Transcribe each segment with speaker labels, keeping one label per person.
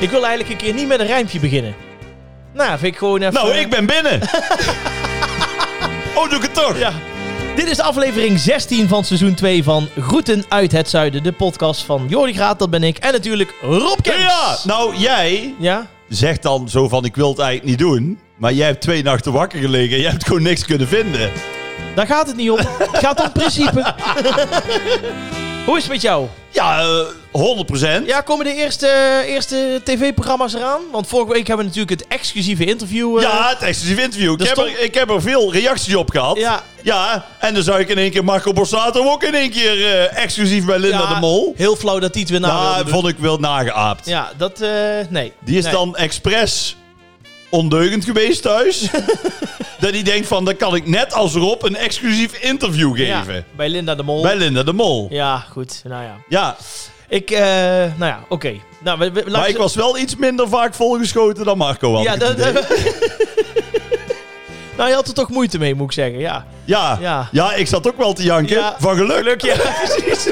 Speaker 1: Ik wil eigenlijk een keer niet met een rijmpje beginnen. Nou, vind ik gewoon even...
Speaker 2: Nou, ik ben binnen. oh, doe ik het toch?
Speaker 1: Ja. Dit is aflevering 16 van seizoen 2 van Groeten uit het Zuiden. De podcast van Jordi Graat, dat ben ik. En natuurlijk Rob Kemps.
Speaker 2: Ja, nou jij
Speaker 1: Ja?
Speaker 2: zegt dan zo van ik wil het eigenlijk niet doen. Maar jij hebt twee nachten wakker gelegen en jij hebt gewoon niks kunnen vinden.
Speaker 1: Daar gaat het niet om. Het gaat om principe. Hoe is het met jou?
Speaker 2: Ja, eh, 100%.
Speaker 1: Ja, komen de eerste, eerste tv-programma's eraan? Want vorige week hebben we natuurlijk het exclusieve interview. eh,
Speaker 2: Ja, het exclusief interview. Ik
Speaker 1: Dat
Speaker 2: heb,
Speaker 1: stond-
Speaker 2: er, ik heb er veel reacties op gehad.
Speaker 1: Ja.
Speaker 2: Ja, en dan zou ik in één keer Marco Borsato ook in één keer eh, exclusief bij Linda
Speaker 1: ja,
Speaker 2: de Mol.
Speaker 1: Heel flauw dat die het weer na wilde
Speaker 2: Nou,
Speaker 1: doen.
Speaker 2: vond ik wel nageaapt.
Speaker 1: Ja, dat... eh, nee.
Speaker 2: Die is
Speaker 1: Nee.
Speaker 2: dan expres ondeugend geweest thuis. dat hij denkt van, dan kan ik net als Rob een exclusief interview
Speaker 1: Ja,
Speaker 2: geven.
Speaker 1: bij Linda de Mol.
Speaker 2: Bij Linda de Mol. Ja,
Speaker 1: Ja, goed. Nou ja. Ik, eh, nou ja, oké. Nou, we, we- laten
Speaker 2: maar
Speaker 1: we-
Speaker 2: ik was wel iets minder vaak volgeschoten dan Marco had. ik
Speaker 1: Ja,
Speaker 2: het
Speaker 1: dat,
Speaker 2: idee.
Speaker 1: nou, je had er toch moeite mee, moet ik zeggen. Ja,
Speaker 2: ja.
Speaker 1: ja.
Speaker 2: Ja. ik zat ook wel te janken.
Speaker 1: Ja.
Speaker 2: Van geluk.
Speaker 1: precies.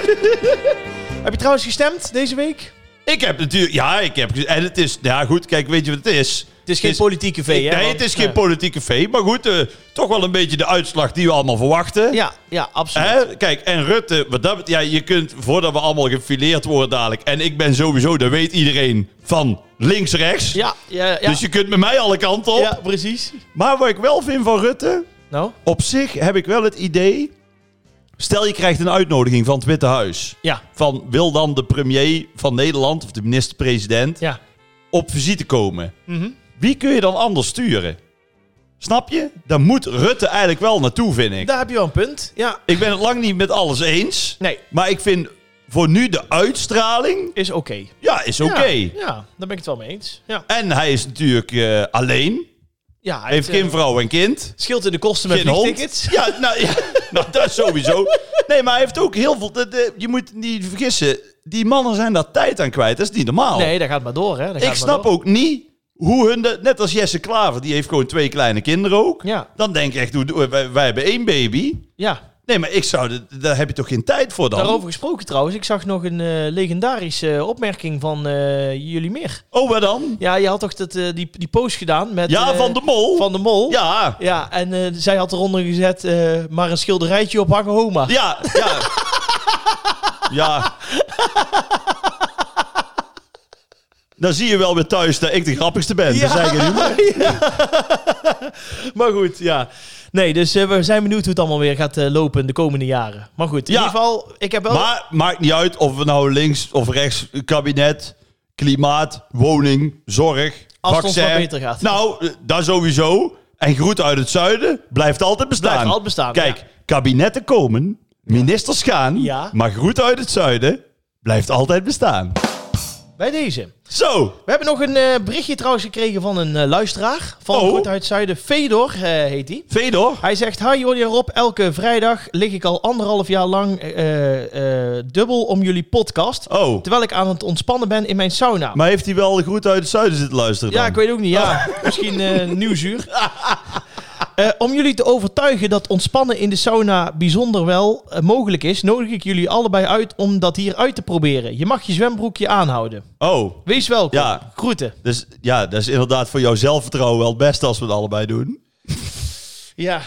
Speaker 1: Heb je trouwens gestemd deze week?
Speaker 2: Ik heb natuurlijk, ja, ik heb, en het is, ja goed, kijk, weet je wat het is?
Speaker 1: Het is geen
Speaker 2: Het is-
Speaker 1: politieke vee, hè?
Speaker 2: nee,
Speaker 1: want-
Speaker 2: het is geen politieke vee, maar goed, eh, toch wel een beetje de uitslag die we allemaal verwachten.
Speaker 1: Ja, ja, absoluut.
Speaker 2: Hè? Kijk, en Rutte, wat dat bet- ja, je kunt voordat we allemaal gefileerd worden dadelijk. En ik ben sowieso, dat weet iedereen, van links-rechts.
Speaker 1: Ja, ja, ja.
Speaker 2: Dus je kunt met mij alle kanten op.
Speaker 1: ja, precies.
Speaker 2: Maar wat ik wel vind van Rutte,
Speaker 1: Nou,
Speaker 2: op zich heb ik wel het idee. Stel je krijgt een uitnodiging van het Witte Huis.
Speaker 1: ja,
Speaker 2: Van wil dan de premier van Nederland of de minister-president
Speaker 1: ja.
Speaker 2: op visite komen?
Speaker 1: Mhm.
Speaker 2: Wie kun je dan anders sturen? Snap je? Daar moet Rutte eigenlijk wel naartoe, vind ik.
Speaker 1: Daar heb je wel een punt. Ja,
Speaker 2: Ik ben het lang niet met alles eens.
Speaker 1: nee,
Speaker 2: Maar ik vind voor nu de uitstraling,
Speaker 1: is oké.
Speaker 2: ja, is oké.
Speaker 1: Ja, ja, daar ben ik het wel mee eens. Ja,
Speaker 2: En hij is natuurlijk eh, alleen.
Speaker 1: ja hij
Speaker 2: Heeft
Speaker 1: het, eh,
Speaker 2: geen vrouw en kind.
Speaker 1: Scheelt in de kosten met
Speaker 2: Geen
Speaker 1: vliegtickets.
Speaker 2: hond. Ja, nou, ja, nou, dat sowieso. Nee, maar hij heeft ook heel veel... dat, eh, je moet niet vergissen, die mannen zijn daar tijd aan kwijt. Dat is niet normaal.
Speaker 1: Nee, dat gaat maar door, hè. Dat gaat
Speaker 2: Nou. ik
Speaker 1: maar
Speaker 2: snap
Speaker 1: door.
Speaker 2: ook niet hoe hun... dat- net als Jesse Klaver, die heeft gewoon twee kleine kinderen ook.
Speaker 1: Ja.
Speaker 2: Dan denk ik echt, hoe- hoe- wij, wij hebben één baby.
Speaker 1: Ja,
Speaker 2: Nee, maar ik zou... dat- Daar heb je toch geen tijd voor dan?
Speaker 1: Daarover gesproken trouwens, ik zag nog een eh, legendarische opmerking van eh, jullie meer.
Speaker 2: Oh, wat dan?
Speaker 1: Ja, je had toch dat, eh, die, die post gedaan met...
Speaker 2: Ja,
Speaker 1: eh,
Speaker 2: Van de Mol.
Speaker 1: Van de Mol.
Speaker 2: Ja,
Speaker 1: Ja, en eh, zij had eronder gezet, eh, maar een schilderijtje op hangen Homa.
Speaker 2: Ja, ja. ja. Dan zie je wel weer thuis dat ik de grappigste ben.
Speaker 1: Ja.
Speaker 2: Dat zei ik er niet meer.
Speaker 1: Maar goed, ja. Nee, dus eh, we zijn benieuwd hoe het allemaal weer gaat eh, lopen de komende jaren. Maar goed, in
Speaker 2: Ja.
Speaker 1: ieder geval, ik heb wel...
Speaker 2: Maar maakt niet uit of we nou links of rechts kabinet, klimaat, woning, zorg,
Speaker 1: Als het ons
Speaker 2: vaccin.
Speaker 1: maar beter gaat.
Speaker 2: Nou, eh, dat sowieso. En groet uit het zuiden blijft altijd bestaan.
Speaker 1: Blijft altijd bestaan,
Speaker 2: Kijk,
Speaker 1: ja.
Speaker 2: kabinetten komen, ministers gaan,
Speaker 1: Ja.
Speaker 2: maar groet uit het zuiden blijft altijd bestaan.
Speaker 1: Bij deze.
Speaker 2: Zo,
Speaker 1: We hebben nog een eh, berichtje trouwens gekregen van een eh, luisteraar. Van
Speaker 2: Oh.
Speaker 1: Goed uit Zuiden. Fedor eh, heet die.
Speaker 2: Fedor.
Speaker 1: Hij zegt, hi Jordi en Rob, elke vrijdag lig ik al anderhalf jaar lang eh, eh, dubbel om jullie podcast.
Speaker 2: Oh.
Speaker 1: Terwijl ik aan het ontspannen ben in mijn sauna.
Speaker 2: Maar heeft hij wel goed uit het zuiden zitten luisteren dan? Oh.
Speaker 1: ja, ik weet ook niet. Ja, misschien eh nieuwzuur. Eh, om jullie te overtuigen dat ontspannen in de sauna bijzonder wel eh, mogelijk is, nodig ik jullie allebei uit om dat hier uit te proberen. Je mag je zwembroekje aanhouden.
Speaker 2: Oh,
Speaker 1: Wees welkom.
Speaker 2: Ja.
Speaker 1: Groeten.
Speaker 2: dus ja, dat is inderdaad voor jouw zelfvertrouwen wel het beste als we het allebei doen.
Speaker 1: Ja.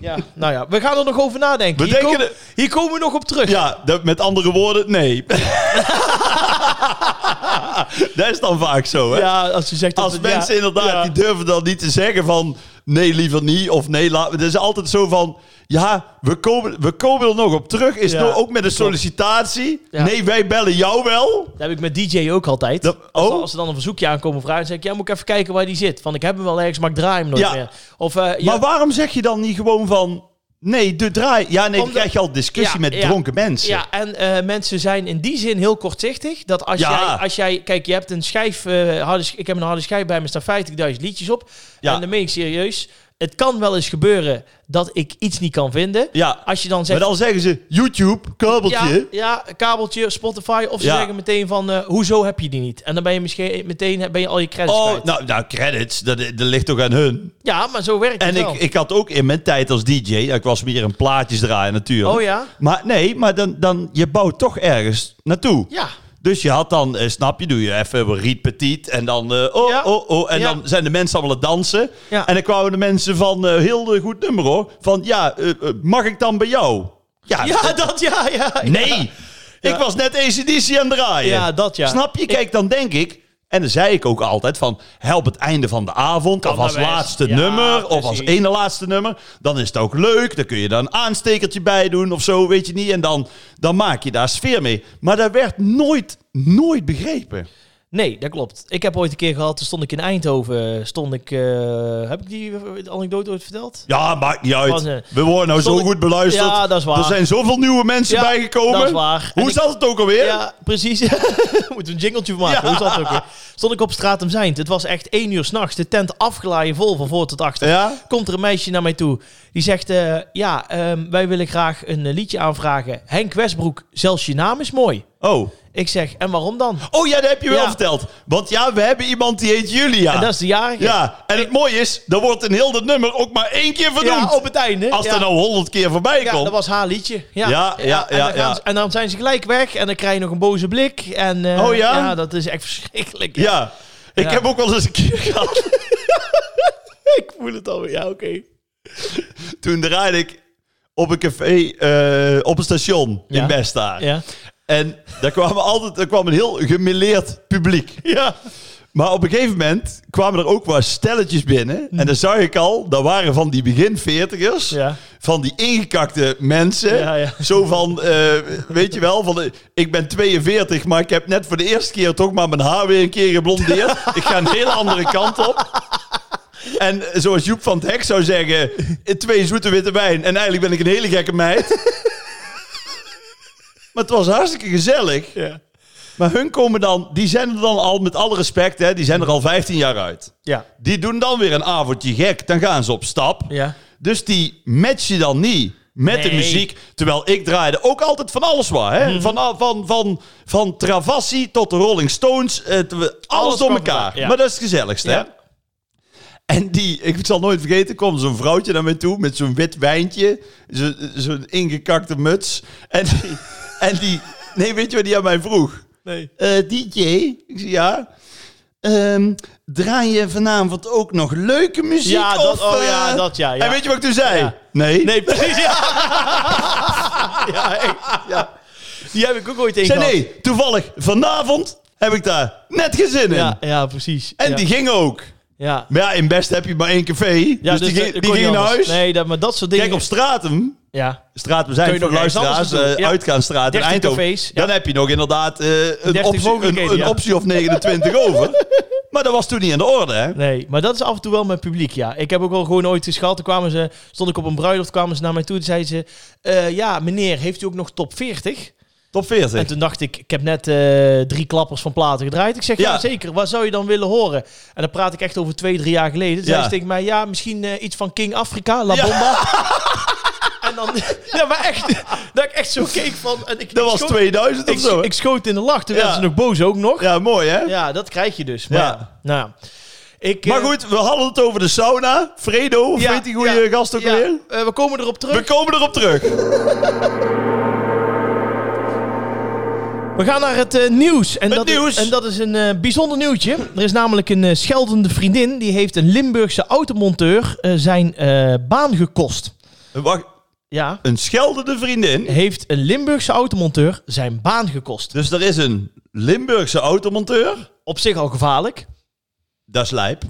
Speaker 1: ja, nou ja, we gaan er nog over nadenken.
Speaker 2: We
Speaker 1: Hier,
Speaker 2: denken
Speaker 1: komen-
Speaker 2: de-
Speaker 1: hier komen we nog op terug.
Speaker 2: Ja, dat, met andere woorden, nee. dat is dan vaak zo, hè?
Speaker 1: Ja, als je zegt dat
Speaker 2: als
Speaker 1: het-
Speaker 2: mensen
Speaker 1: ja,
Speaker 2: inderdaad,
Speaker 1: ja.
Speaker 2: die durven dan niet te zeggen van... Nee, liever niet. Of nee, laat... Het is altijd zo van... Ja, we komen, we komen er nog op terug. Is
Speaker 1: Ja,
Speaker 2: nou ook met een sollicitatie.
Speaker 1: Ja.
Speaker 2: Nee, wij bellen jou wel.
Speaker 1: Dat heb ik met DJ ook altijd.
Speaker 2: Dat-
Speaker 1: Als,
Speaker 2: oh.
Speaker 1: als ze dan een verzoekje aankomen vragen, dan zeg ik, ja, moet ik even kijken waar die zit. Van, ik heb hem wel ergens, maar ik draai hem nooit
Speaker 2: Ja.
Speaker 1: meer. Of, eh, ja,
Speaker 2: Maar waarom zeg je dan niet gewoon van... Nee, de draai... Ja, nee, dan
Speaker 1: Omdat-
Speaker 2: krijg je al discussie
Speaker 1: Ja,
Speaker 2: met
Speaker 1: ja,
Speaker 2: dronken mensen.
Speaker 1: ja, en eh, mensen zijn in die zin heel kortzichtig. Dat als,
Speaker 2: Ja.
Speaker 1: jij, als jij, kijk, je hebt een schijf, eh, harde, sch- ik heb een harde schijf bij me, staan 50.000 liedjes op.
Speaker 2: Ja.
Speaker 1: En dan meen ik serieus, het kan wel eens gebeuren dat ik iets niet kan vinden.
Speaker 2: ja.
Speaker 1: Als je dan zegt,
Speaker 2: Maar dan zeggen ze YouTube, kabeltje.
Speaker 1: ja, ja, kabeltje, Spotify. Of ze
Speaker 2: Ja.
Speaker 1: zeggen meteen van, eh, hoezo heb je die niet? En dan ben je misschien meteen ben je al je credits
Speaker 2: Oh,
Speaker 1: kwijt.
Speaker 2: nou, nou, credits, dat, dat ligt toch aan hun.
Speaker 1: Ja, maar zo werkt het
Speaker 2: En ik,
Speaker 1: wel.
Speaker 2: ik had ook in mijn tijd als DJ, ja, ik was meer een plaatjes draaien natuurlijk.
Speaker 1: Oh ja?
Speaker 2: Maar nee, maar dan, dan, je bouwt toch ergens naartoe.
Speaker 1: Ja.
Speaker 2: Dus je had dan, eh, snap je, doe je even riet petit. En dan, eh, oh,
Speaker 1: Ja.
Speaker 2: oh, oh. En
Speaker 1: Ja.
Speaker 2: dan zijn de mensen allemaal aan het dansen.
Speaker 1: Ja.
Speaker 2: En dan kwamen de mensen van, eh, heel eh, goed nummer hoor. Van, ja, eh, eh, mag ik dan bij jou? Ja,
Speaker 1: Ja, dat ja, ja.
Speaker 2: nee.
Speaker 1: Ja.
Speaker 2: Ik was net ACDC aan het draaien.
Speaker 1: Ja, dat ja.
Speaker 2: Snap je? Kijk, dan denk ik... En dan zei ik ook altijd van, help het einde van de avond, of
Speaker 1: dat
Speaker 2: als
Speaker 1: best.
Speaker 2: laatste
Speaker 1: Ja,
Speaker 2: nummer, of als
Speaker 1: precies.
Speaker 2: ene laatste nummer. Dan is het ook leuk, dan kun je daar een aanstekertje bij doen of zo, weet je niet. En dan, dan maak je daar sfeer mee. Maar dat werd nooit, nooit begrepen.
Speaker 1: Nee, dat klopt. Ik heb ooit een keer gehad, toen stond ik in Eindhoven. Stond ik, eh, heb ik die eh, anekdote ooit verteld?
Speaker 2: Ja, maakt niet
Speaker 1: Was,
Speaker 2: uit.
Speaker 1: eh,
Speaker 2: We worden nou zo
Speaker 1: stond ik-
Speaker 2: goed beluisterd.
Speaker 1: Ja, dat is waar.
Speaker 2: Er zijn zoveel nieuwe mensen
Speaker 1: Ja,
Speaker 2: bijgekomen.
Speaker 1: dat is waar. En
Speaker 2: Hoe
Speaker 1: ik-
Speaker 2: zat het ook alweer?
Speaker 1: Ja, precies. Moet een jingletje van maken.
Speaker 2: Ja.
Speaker 1: Hoe zat het ook weer? Stond ik op straat om zijn. Het was echt één uur s'nachts. De tent afgeladen vol van voor tot achter.
Speaker 2: Ja?
Speaker 1: Komt er een meisje naar mij toe. Die zegt, eh, ja, ehm, wij willen graag een eh, liedje aanvragen. Henk Westbroek, zelfs je naam is mooi.
Speaker 2: Oh.
Speaker 1: Ik zeg, en waarom dan?
Speaker 2: Oh ja, dat heb je wel
Speaker 1: Ja.
Speaker 2: verteld. Want ja, we hebben iemand die heet Julia.
Speaker 1: En dat is de jarige.
Speaker 2: ja, en het mooie is, er wordt in heel dat nummer ook maar één keer
Speaker 1: Ja,
Speaker 2: vernoemd.
Speaker 1: op het einde.
Speaker 2: Als
Speaker 1: ja.
Speaker 2: er nou honderd keer voorbij
Speaker 1: Ja,
Speaker 2: komt.
Speaker 1: dat was haar liedje. Ja,
Speaker 2: Ja, ja,
Speaker 1: en,
Speaker 2: ja,
Speaker 1: dan gaan
Speaker 2: ja.
Speaker 1: ze- en dan zijn ze gelijk weg en dan krijg je nog een boze blik. En, eh,
Speaker 2: Oh ja?
Speaker 1: dat is echt verschrikkelijk.
Speaker 2: ja. ik
Speaker 1: Ja.
Speaker 2: heb ook wel eens een keer gehad.
Speaker 1: Ik voel het alweer. Ja, oké.
Speaker 2: Toen draaide ik op een café eh, op een station
Speaker 1: Ja.
Speaker 2: in Bestaar.
Speaker 1: Ja.
Speaker 2: En daar, kwamen altijd, daar kwam een heel gemeleerd publiek.
Speaker 1: Ja.
Speaker 2: Maar op een gegeven moment kwamen er ook wel stelletjes binnen. En dan zag ik al, dat waren van die begin veertigers.
Speaker 1: Hmm. Ja.
Speaker 2: Van die ingekakte mensen.
Speaker 1: Ja, ja.
Speaker 2: Zo van, eh, weet je wel, van, eh, ik ben 42, maar ik heb net voor de eerste keer toch maar mijn haar weer een keer geblondeerd. ik ga een hele andere kant op. En zoals Joep van het Hek zou zeggen, eh, twee zoete witte wijn. En eigenlijk ben ik een hele gekke meid. maar het was hartstikke gezellig.
Speaker 1: Ja.
Speaker 2: Maar hun komen dan, die zijn er dan al, met alle respect, hè, die zijn er al 15 jaar uit.
Speaker 1: Ja.
Speaker 2: Die doen dan weer een avondje gek, dan gaan ze op stap.
Speaker 1: Ja.
Speaker 2: Dus die match je dan niet met de
Speaker 1: Nee. Mhm.
Speaker 2: muziek. Terwijl ik draaide ook altijd van alles wat. Hè? Van, van, van, van, Travassi tot de Rolling Stones, eh, te- alles,
Speaker 1: Alles
Speaker 2: door
Speaker 1: kwam
Speaker 2: elkaar.
Speaker 1: voorbij, ja.
Speaker 2: Maar dat is het gezelligste, hè?
Speaker 1: Ja.
Speaker 2: En die, ik zal nooit vergeten, kwam zo'n vrouwtje naar mij toe met zo'n wit wijntje, zo- zo'n ingekakte muts. En die, en die, nee, weet je wat die aan mij vroeg?
Speaker 1: Nee.
Speaker 2: Eh, DJ, ik zeg ja. Ehm, draai je vanavond ook nog leuke muziek?
Speaker 1: Ja, dat-
Speaker 2: of,
Speaker 1: oh ja,
Speaker 2: eh?"
Speaker 1: dat ja, ja.
Speaker 2: En weet je wat ik toen zei? Nee.
Speaker 1: Nee, precies. Ja.
Speaker 2: Ja, ik- ja.
Speaker 1: Die heb ik ook ooit
Speaker 2: Ik
Speaker 1: één
Speaker 2: zei
Speaker 1: gehad.
Speaker 2: nee, toevallig vanavond heb ik daar net geen zin in.
Speaker 1: Ja, ja, precies.
Speaker 2: En
Speaker 1: ja.
Speaker 2: die ging ook.
Speaker 1: Ja.
Speaker 2: Maar ja, in Best heb je maar één café.
Speaker 1: Ja,
Speaker 2: dus, die,
Speaker 1: dat- dat
Speaker 2: ging- die
Speaker 1: kon
Speaker 2: ging
Speaker 1: niet
Speaker 2: naar
Speaker 1: anders.
Speaker 2: huis.
Speaker 1: Nee, dat, maar dat soort dingen.
Speaker 2: Kijk, op Stratum
Speaker 1: Ja.
Speaker 2: Stratum
Speaker 1: Kun
Speaker 2: zijn
Speaker 1: je
Speaker 2: voor
Speaker 1: nog ergens
Speaker 2: luisteraars,
Speaker 1: anders doen,
Speaker 2: eh
Speaker 1: ja.
Speaker 2: uitgaansstraat in
Speaker 1: 30
Speaker 2: Eindhoven.
Speaker 1: cafés, ja.
Speaker 2: Dan heb je nog inderdaad eh, een,
Speaker 1: 30
Speaker 2: optie, een,
Speaker 1: mogelijkheden,
Speaker 2: een
Speaker 1: ja.
Speaker 2: optie of 29 over. Maar dat was toen niet in de orde, hè?
Speaker 1: Nee, maar dat is af en toe wel mijn publiek, ja. Ik heb ook wel gewoon ooit eens gehad. Toen kwamen ze, stond ik op een bruiloft, kwamen ze naar mij toe. Toen zeiden ze, eh, ja, meneer, heeft u ook nog top 40?
Speaker 2: Top 40.
Speaker 1: En toen dacht ik, ik heb net eh, drie klappers van platen gedraaid. Ik zeg, ja.
Speaker 2: Ja.
Speaker 1: zeker, wat zou je dan willen horen? En dan praat ik echt over twee, drie jaar geleden. Toen zei
Speaker 2: Ja.
Speaker 1: ze tegen mij, ja, misschien eh, iets van King Africa, La
Speaker 2: Ja.
Speaker 1: Bomba. en dan, ja, maar echt, dat ik echt zo keek van... En ik,
Speaker 2: dat was
Speaker 1: ik schoot-
Speaker 2: 2000
Speaker 1: ik,
Speaker 2: of zo. hè?
Speaker 1: ik schoot in de lach, toen
Speaker 2: Ja.
Speaker 1: werden ze nog boos ook nog. Ja,
Speaker 2: ja, mooi, hè?
Speaker 1: dat krijg je dus. Maar,
Speaker 2: Ja.
Speaker 1: ja. nou, ik,
Speaker 2: Maar
Speaker 1: eh,
Speaker 2: goed, we hadden het over de sauna. Fredo, of
Speaker 1: ja,
Speaker 2: weet die goede
Speaker 1: ja,
Speaker 2: gast ook
Speaker 1: ja,
Speaker 2: alweer?
Speaker 1: eh, we komen erop terug.
Speaker 2: We komen erop terug.
Speaker 1: We gaan naar het eh, nieuws. En
Speaker 2: Het
Speaker 1: dat
Speaker 2: nieuws.
Speaker 1: Is, en dat is een eh, bijzonder nieuwtje. Er is namelijk een eh, scheldende vriendin. Die heeft een Limburgse automonteur eh, zijn eh, baan gekost.
Speaker 2: Wacht,
Speaker 1: Ja.
Speaker 2: een scheldende vriendin.
Speaker 1: Heeft een Limburgse automonteur zijn baan gekost.
Speaker 2: Dus er is een Limburgse automonteur.
Speaker 1: Op zich al gevaarlijk.
Speaker 2: Dat is lijp.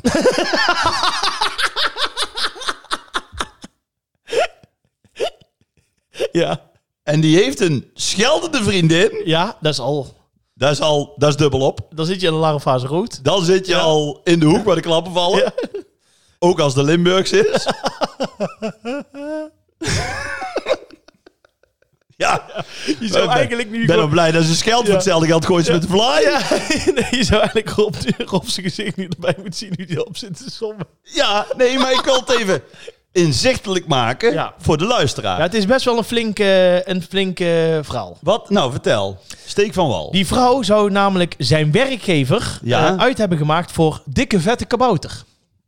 Speaker 1: Ja.
Speaker 2: en die heeft een scheldende vriendin.
Speaker 1: Ja, dat is al.
Speaker 2: Dat is al, dat is dubbelop.
Speaker 1: Dan zit je in de larfase rood.
Speaker 2: Dan zit je
Speaker 1: Ja.
Speaker 2: al in de hoek waar de klappen vallen.
Speaker 1: Ja.
Speaker 2: Ook als de Limburgs is. ja,
Speaker 1: Je
Speaker 2: ik ben-
Speaker 1: nu.
Speaker 2: ik ben wel blij dat ze scheld voor
Speaker 1: Ja.
Speaker 2: hetzelfde geld gooien ze met de vlaai. Ja.
Speaker 1: je zou eigenlijk Rob, Rob zijn gezicht niet erbij moeten zien nu die op zit te sommen.
Speaker 2: nee, maar ik wil het even inzichtelijk maken
Speaker 1: Ja.
Speaker 2: voor de luisteraar.
Speaker 1: Ja, het is best wel een flink, eh, een flink eh, verhaal.
Speaker 2: Wat? Nou, vertel. Steek van wal.
Speaker 1: Die vrouw zou namelijk zijn werkgever
Speaker 2: Ja.
Speaker 1: eh, uit hebben gemaakt voor dikke vette kabouter.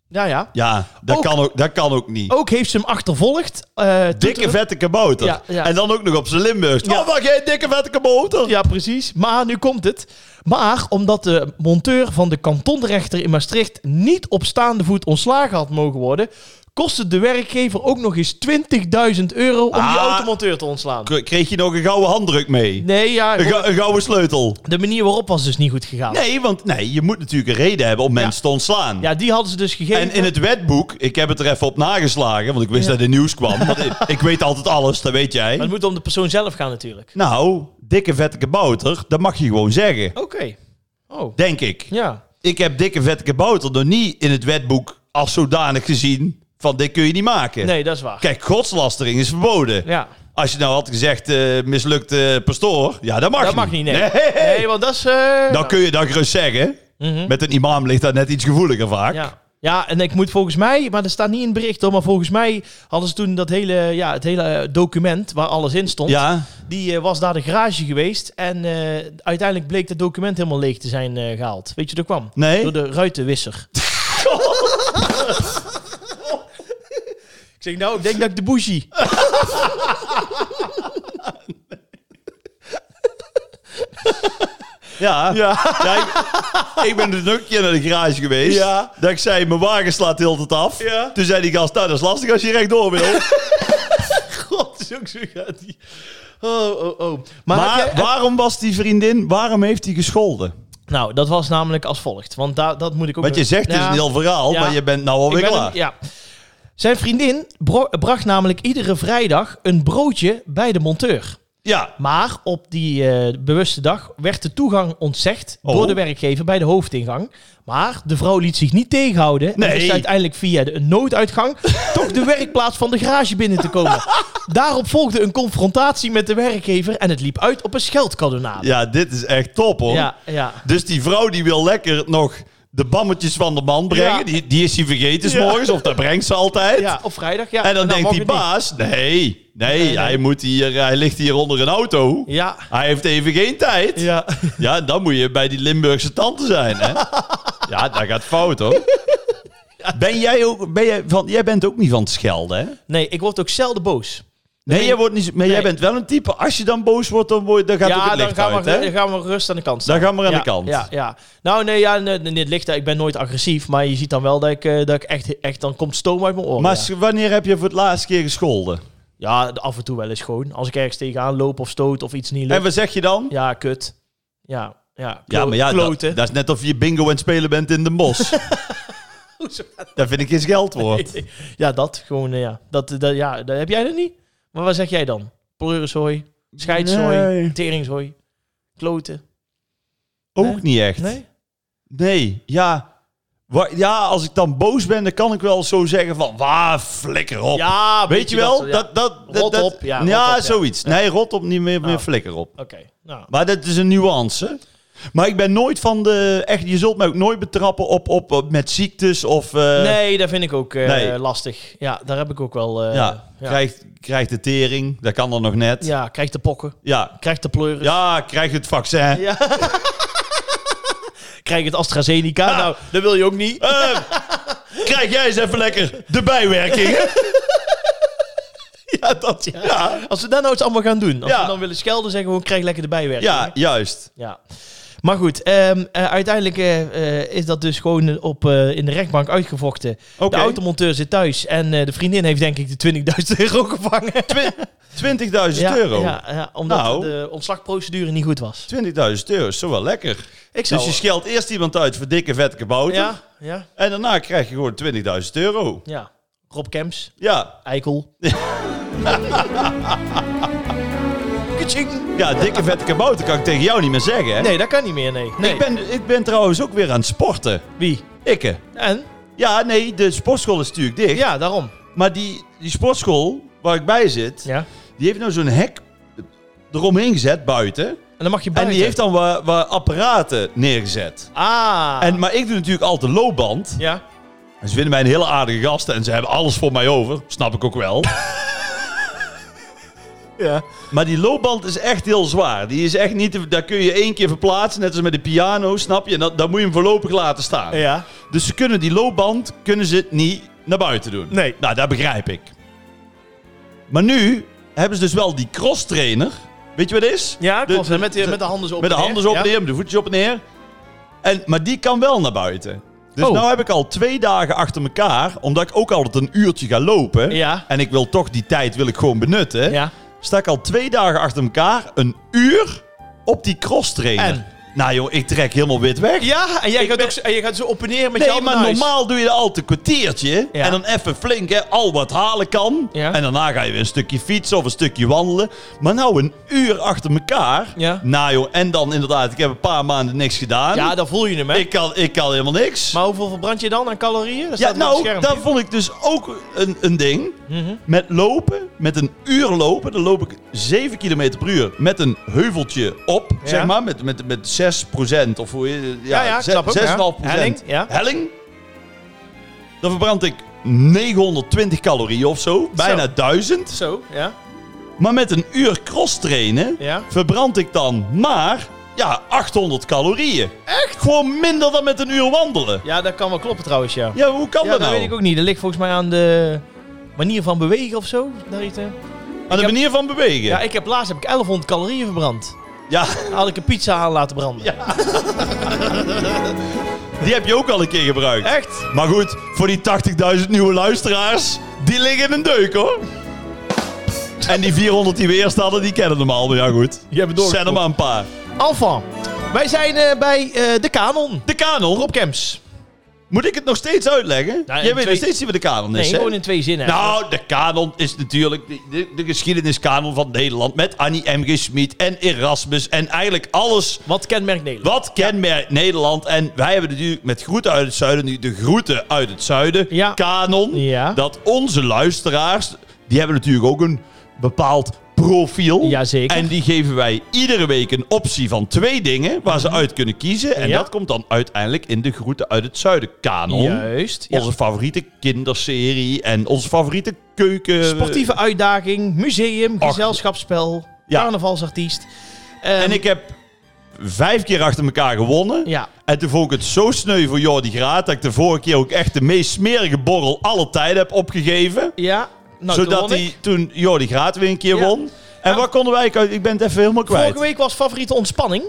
Speaker 1: Ja, ja.
Speaker 2: Ja, dat,
Speaker 1: Ook-
Speaker 2: kan, ook, dat kan ook niet.
Speaker 1: Ook heeft ze hem achtervolgd. eh,
Speaker 2: dikke
Speaker 1: toeter-
Speaker 2: vette kabouter.
Speaker 1: Ja, ja.
Speaker 2: En dan ook nog op zijn Limburgs.
Speaker 1: Ja.
Speaker 2: Ja. maar geen dikke vette kabouter.
Speaker 1: Ja, precies. Maar nu komt het. Maar omdat de monteur van de kantonrechter in Maastricht niet op staande voet ontslagen had mogen worden, kostte de werkgever ook nog eens 20.000 euro om die
Speaker 2: Ah.
Speaker 1: automonteur te ontslaan.
Speaker 2: K- Kreeg je nog een gouden handdruk mee?
Speaker 1: Nee, ja,
Speaker 2: Een, gou- een gouden sleutel?
Speaker 1: de manier waarop was dus niet goed gegaan.
Speaker 2: Nee, want nee, je moet natuurlijk een reden hebben om mensen te ontslaan.
Speaker 1: Ja, die hadden ze dus gegeven.
Speaker 2: En in het wetboek, ik heb het er even op nageslagen, want ik wist
Speaker 1: Ja.
Speaker 2: dat het nieuws kwam. Want ik, ik weet altijd alles, dat weet jij.
Speaker 1: Maar het moet om de persoon zelf gaan natuurlijk.
Speaker 2: Nou, dikke vette kabouter, dat mag je gewoon zeggen.
Speaker 1: Oké. Oh,
Speaker 2: Denk ik.
Speaker 1: ja.
Speaker 2: Ik heb dikke vette kabouter nog niet in het wetboek als zodanig gezien van dit kun je niet maken.
Speaker 1: Nee, dat is waar.
Speaker 2: Kijk, godslastering is verboden.
Speaker 1: Ja.
Speaker 2: Als je nou had gezegd eh, mislukte pastoor, ja dat mag
Speaker 1: Dat mag niet, nee. Nee, want dat is... eh,
Speaker 2: Dan kun je dat gerust zeggen.
Speaker 1: Mhm.
Speaker 2: Met een imam ligt dat net iets gevoeliger vaak.
Speaker 1: Ja. ja, en ik moet volgens mij, maar dat staat niet in het bericht hoor, maar volgens mij hadden ze toen dat hele, ja, het hele eh, document waar alles in stond,
Speaker 2: Ja,
Speaker 1: die eh, was daar de garage geweest en eh, uiteindelijk bleek dat document helemaal leeg te zijn eh, gehaald. Weet je, dat kwam.
Speaker 2: nee.
Speaker 1: Door de ruitenwisser. ik zeg nou, ik denk dat ik de bougie.
Speaker 2: Ja.
Speaker 1: Ja.
Speaker 2: Ja, ik, ik ben dus nog een keer naar de garage geweest.
Speaker 1: Ja.
Speaker 2: Dat ik zei, mijn wagen slaat heel het af.
Speaker 1: Ja.
Speaker 2: Toen zei die gast, nou dat is lastig als je rechtdoor wil.
Speaker 1: God, is ook zo gaat die. Oh, oh, oh. Maar,
Speaker 2: Maar,
Speaker 1: heb jij-
Speaker 2: waarom was die vriendin, waarom heeft hij gescholden?
Speaker 1: nou, dat was namelijk als volgt. Want daar dat moet ik ook...
Speaker 2: Wat je zegt is
Speaker 1: Ja.
Speaker 2: een heel verhaal,
Speaker 1: Ja.
Speaker 2: maar je bent nou alweer
Speaker 1: Ik ben
Speaker 2: klaar.
Speaker 1: een- ja. Zijn vriendin bro- bracht namelijk iedere vrijdag een broodje bij de monteur.
Speaker 2: Ja.
Speaker 1: Maar op die eh, bewuste dag werd de toegang ontzegd
Speaker 2: Oh.
Speaker 1: door de werkgever bij de hoofdingang. Maar de vrouw liet zich niet tegenhouden. En
Speaker 2: Nee.
Speaker 1: wist uiteindelijk via de een nooduitgang toch de werkplaats van de garage binnen te komen. Daarop volgde een confrontatie met de werkgever en het liep uit op een scheldkadonade.
Speaker 2: ja, dit is echt top hoor.
Speaker 1: ja, ja.
Speaker 2: Dus die vrouw die wil lekker nog de bammetjes van de man brengen.
Speaker 1: Ja.
Speaker 2: Die, die is hij vergeten 's
Speaker 1: Ja.
Speaker 2: morgens, of dat brengt ze altijd.
Speaker 1: ja, op vrijdag. Ja. Nou,
Speaker 2: En dan denkt
Speaker 1: mag
Speaker 2: die
Speaker 1: het niet.
Speaker 2: baas, nee, nee,
Speaker 1: Nee, nee.
Speaker 2: Hij, moet hier, hij ligt hier onder een auto.
Speaker 1: Ja,
Speaker 2: Hij heeft even geen tijd.
Speaker 1: ja.
Speaker 2: Ja, dan moet je bij die Limburgse tante zijn, hè? ja, dat gaat fout, hoor. Ben jij ook... Ben jij, van, jij bent ook niet van het schelden, hè?
Speaker 1: Nee, ik word ook zelden boos.
Speaker 2: Nee, jij wordt niet... zo- Maar jij bent wel een type... Als je dan boos wordt, dan, word, je- dan gaat ook het
Speaker 1: dan
Speaker 2: licht
Speaker 1: gaan,
Speaker 2: uit,
Speaker 1: we, dan
Speaker 2: hè?
Speaker 1: gaan we rust aan de kant staan.
Speaker 2: Dan gaan we aan
Speaker 1: ja,
Speaker 2: de kant.
Speaker 1: Ja, ja. Nou, nee, ja, nee, nee, het ligt, ik ben nooit agressief, maar je ziet dan wel dat ik, eh, dat ik echt, echt, dan komt stoom uit mijn oren.
Speaker 2: Maar
Speaker 1: ja.
Speaker 2: s- wanneer heb je voor het laatst keer gescholden?
Speaker 1: ja, af en toe wel eens gewoon. Als ik ergens tegenaan loop of stoot of iets niet
Speaker 2: En
Speaker 1: lukt.
Speaker 2: wat zeg je dan?
Speaker 1: Ja, kut. Ja, ja.
Speaker 2: Ja, maar ja, dat,
Speaker 1: kloten.
Speaker 2: dat is net of je bingo aan het spelen bent in de bos. Daar vind ik geen scheldwoord.
Speaker 1: Oh, ja, dat gewoon, eh, ja. Dat, dat, ja. Dat heb jij dat niet? Maar wat zeg jij dan? Pleurenzooi, scheidzooi,
Speaker 2: Nee.
Speaker 1: teringzooi, kloten.
Speaker 2: Ook niet echt.
Speaker 1: Nee?
Speaker 2: Nee, ja. Wa- Ja, als ik dan boos ben, dan kan ik wel zo zeggen van... Waar, flikker op.
Speaker 1: Ja,
Speaker 2: Weet je wel?
Speaker 1: ja.
Speaker 2: Dat, dat, dat,
Speaker 1: Rot
Speaker 2: dat-
Speaker 1: op, ja, rot op, ja.
Speaker 2: zoiets. Nee, rot op, niet meer, meer
Speaker 1: Ah.
Speaker 2: flikker op.
Speaker 1: Oké, nou.
Speaker 2: Maar dat is een nuance. Maar ik ben nooit van de... Echt, je zult mij ook nooit betrappen op, op, op met ziektes of... eh,
Speaker 1: nee, dat vind ik ook eh,
Speaker 2: nee.
Speaker 1: lastig. Ja, daar heb ik ook wel. eh,
Speaker 2: ja,
Speaker 1: ja.
Speaker 2: Krijgt, krijgt de tering, dat kan dan nog net. Ja,
Speaker 1: Ja, krijgt de pokken,
Speaker 2: ja,
Speaker 1: krijgt de pleuren,
Speaker 2: krijgt het vaccin.
Speaker 1: Ja. krijgt het AstraZeneca. Nou, dat wil je ook niet.
Speaker 2: Eh, Ah. krijg jij eens even lekker de bijwerkingen. ja, dat ja. Ja,
Speaker 1: Als we dat nou eens allemaal gaan doen, als
Speaker 2: Ja.
Speaker 1: we dan willen schelden, zeggen we gewoon, krijg lekker de bijwerking.
Speaker 2: juist.
Speaker 1: Ja. Maar goed, ehm, eh, uiteindelijk eh, eh, is dat dus gewoon op, eh, in de rechtbank uitgevochten.
Speaker 2: Oké.
Speaker 1: De automonteur zit thuis en eh, de vriendin heeft denk ik de 20.000 euro gevangen.
Speaker 2: Twi- 20.000
Speaker 1: Ja,
Speaker 2: euro.
Speaker 1: Ja, ja, omdat
Speaker 2: Nou.
Speaker 1: de ontslagprocedure niet goed was.
Speaker 2: 20.000 euro is zo wel lekker.
Speaker 1: Ik zou...
Speaker 2: Dus je scheldt eerst iemand uit voor dikke vette kabouter.
Speaker 1: ja, ja,
Speaker 2: En daarna krijg je gewoon 20.000 euro.
Speaker 1: ja. Rob Kemps,
Speaker 2: Ja,
Speaker 1: Eikel.
Speaker 2: ja dikke vette kabouter kan ik tegen jou niet meer zeggen. Hè?
Speaker 1: Nee, dat kan niet meer, nee. nee.
Speaker 2: Ik, ben, ik ben trouwens ook weer aan het sporten.
Speaker 1: Wie?
Speaker 2: Ikke.
Speaker 1: En?
Speaker 2: Ja, nee, de sportschool is natuurlijk dicht.
Speaker 1: Ja, daarom.
Speaker 2: Maar die, die sportschool waar ik bij zit,
Speaker 1: Ja.
Speaker 2: die heeft nou zo'n hek eromheen gezet buiten.
Speaker 1: En dan mag je
Speaker 2: En
Speaker 1: buiten.
Speaker 2: die heeft dan waar, waar apparaten neergezet.
Speaker 1: Ah.
Speaker 2: En, maar ik doe natuurlijk altijd loopband.
Speaker 1: Ja.
Speaker 2: En ze vinden mij een hele aardige gast en ze hebben alles voor mij over. Snap ik ook wel.
Speaker 1: Ja.
Speaker 2: Maar die loopband is echt heel zwaar. Die is echt niet te- daar kun je één keer verplaatsen, net als met de piano, snap je? En dat, dan moet je hem voorlopig laten staan.
Speaker 1: ja.
Speaker 2: Dus ze kunnen die loopband kunnen ze niet naar buiten doen.
Speaker 1: Nee.
Speaker 2: Nou, dat begrijp ik. Maar nu hebben ze dus wel die cross trainer. Weet je wat het is?
Speaker 1: Ja,
Speaker 2: De-
Speaker 1: klopt.
Speaker 2: de-
Speaker 1: met, de, met de handen zo op
Speaker 2: Met de
Speaker 1: en neer.
Speaker 2: handen zo
Speaker 1: Ja.
Speaker 2: op en neer, met de voetjes op en neer. En, maar die kan wel naar buiten. Dus
Speaker 1: Oh.
Speaker 2: nou heb ik al twee dagen achter elkaar, omdat ik ook altijd een uurtje ga lopen.
Speaker 1: Ja.
Speaker 2: En ik wil toch die tijd wil ik gewoon benutten.
Speaker 1: Ja.
Speaker 2: Sta ik al twee dagen achter elkaar, een uur op die cross trainer.
Speaker 1: En?
Speaker 2: Nou joh, ik trek helemaal wit weg.
Speaker 1: Ja, en jij, gaat
Speaker 2: ben-
Speaker 1: ook, zo- en jij gaat zo op en neer met je
Speaker 2: Nee,
Speaker 1: handen
Speaker 2: maar
Speaker 1: naar huis.
Speaker 2: normaal doe je er altijd een kwartiertje.
Speaker 1: Ja.
Speaker 2: En dan even flink, hè, al wat halen kan.
Speaker 1: Ja.
Speaker 2: En daarna ga je weer een stukje fietsen of een stukje wandelen. Maar nou een uur achter elkaar.
Speaker 1: Ja.
Speaker 2: Nou joh, en dan inderdaad, ik heb een paar maanden niks gedaan.
Speaker 1: Ja, dan voel je hem, hè?
Speaker 2: ik, kan, ik kan helemaal niks.
Speaker 1: Maar hoeveel verbrand je dan aan calorieën? Dat
Speaker 2: ja,
Speaker 1: staat op het
Speaker 2: nou,
Speaker 1: scherm.
Speaker 2: daar vond ik dus ook een, een ding.
Speaker 1: Mhm.
Speaker 2: Met lopen, met een uur lopen, dan loop ik 7 km per uur met een heuveltje op,
Speaker 1: Ja.
Speaker 2: zeg maar, met, met, met 6% of hoe je,
Speaker 1: Ja, ja, ik
Speaker 2: ze-
Speaker 1: snap hem,
Speaker 2: 6,5%.
Speaker 1: ja. Helling, ja.
Speaker 2: Helling. Dan verbrand ik 920 calorieën of zo, bijna 1000.
Speaker 1: Zo, ja.
Speaker 2: Maar met een uur cross trainen
Speaker 1: Ja.
Speaker 2: verbrand ik dan maar ja, 800 calorieën. Echt? Gewoon minder dan met een uur wandelen.
Speaker 1: Ja, dat kan wel kloppen trouwens, ja.
Speaker 2: Ja, hoe kan
Speaker 1: Ja,
Speaker 2: dat
Speaker 1: dat
Speaker 2: nou?
Speaker 1: weet ik ook niet. Dat ligt volgens mij aan de manier van bewegen of zo. Daar iets, eh.
Speaker 2: Aan de
Speaker 1: heb-
Speaker 2: manier van bewegen.
Speaker 1: Ja, ik heb laatst heb ik 1100 calorieën verbrand.
Speaker 2: ja.
Speaker 1: Dan had ik een pizza aan laten branden.
Speaker 2: Ja. Die heb je ook al een keer gebruikt.
Speaker 1: Echt?
Speaker 2: Maar goed, voor die 80.000 nieuwe luisteraars, die liggen in een deuk hoor. En die 400 die we eerst hadden, die kennen hem al. Maar ja goed,
Speaker 1: Die hebben
Speaker 2: zet er maar een paar.
Speaker 1: Enfin, wij zijn eh, bij eh, de Canon.
Speaker 2: De kanon,
Speaker 1: Rob Kemps.
Speaker 2: moet ik het nog steeds uitleggen?
Speaker 1: Ja, in
Speaker 2: Jij weet nog
Speaker 1: twee-
Speaker 2: steeds niet wat de kanon
Speaker 1: Nee,
Speaker 2: is Dus, hè?
Speaker 1: gewoon in twee zinnen.
Speaker 2: Nou, de kanon is natuurlijk de, de, de geschiedeniskanon van Nederland. Met Annie M. G. Schmid en Erasmus en eigenlijk alles
Speaker 1: Wat kenmerkt Nederland?
Speaker 2: Wat kenmerkt Nederland? En wij hebben natuurlijk met groeten uit het zuiden nu de groeten uit het zuiden.
Speaker 1: Ja.
Speaker 2: Kanon.
Speaker 1: Ja.
Speaker 2: Dat onze luisteraars, die hebben natuurlijk ook een bepaald profiel.
Speaker 1: Jazeker.
Speaker 2: En die geven wij iedere week een optie van twee dingen waar ze uit kunnen kiezen. En
Speaker 1: Mhm. Ja.
Speaker 2: dat komt dan uiteindelijk in de groeten uit het zuiden. Kanon.
Speaker 1: Juist. ja.
Speaker 2: Onze favoriete kinderserie en onze favoriete keuken.
Speaker 1: Sportieve uitdaging, museum,
Speaker 2: eh, Ach.
Speaker 1: gezelschapsspel,
Speaker 2: Ja.
Speaker 1: carnavalsartiest. Ehm,
Speaker 2: En ik heb vijf keer achter elkaar gewonnen.
Speaker 1: Ja.
Speaker 2: En toen vond ik het zo sneu voor Jordi Graat dat ik de vorige keer ook echt de meest smerige borrel alle tijden heb opgegeven.
Speaker 1: Ja. Nou,
Speaker 2: zodat
Speaker 1: toen won
Speaker 2: hij toen Jordi Graat weer een keer
Speaker 1: Ja.
Speaker 2: won. En
Speaker 1: Ja.
Speaker 2: waar konden wij uit? Ik ben het even helemaal
Speaker 1: ik.
Speaker 2: kwijt.
Speaker 1: Vorige week was favoriete ontspanning,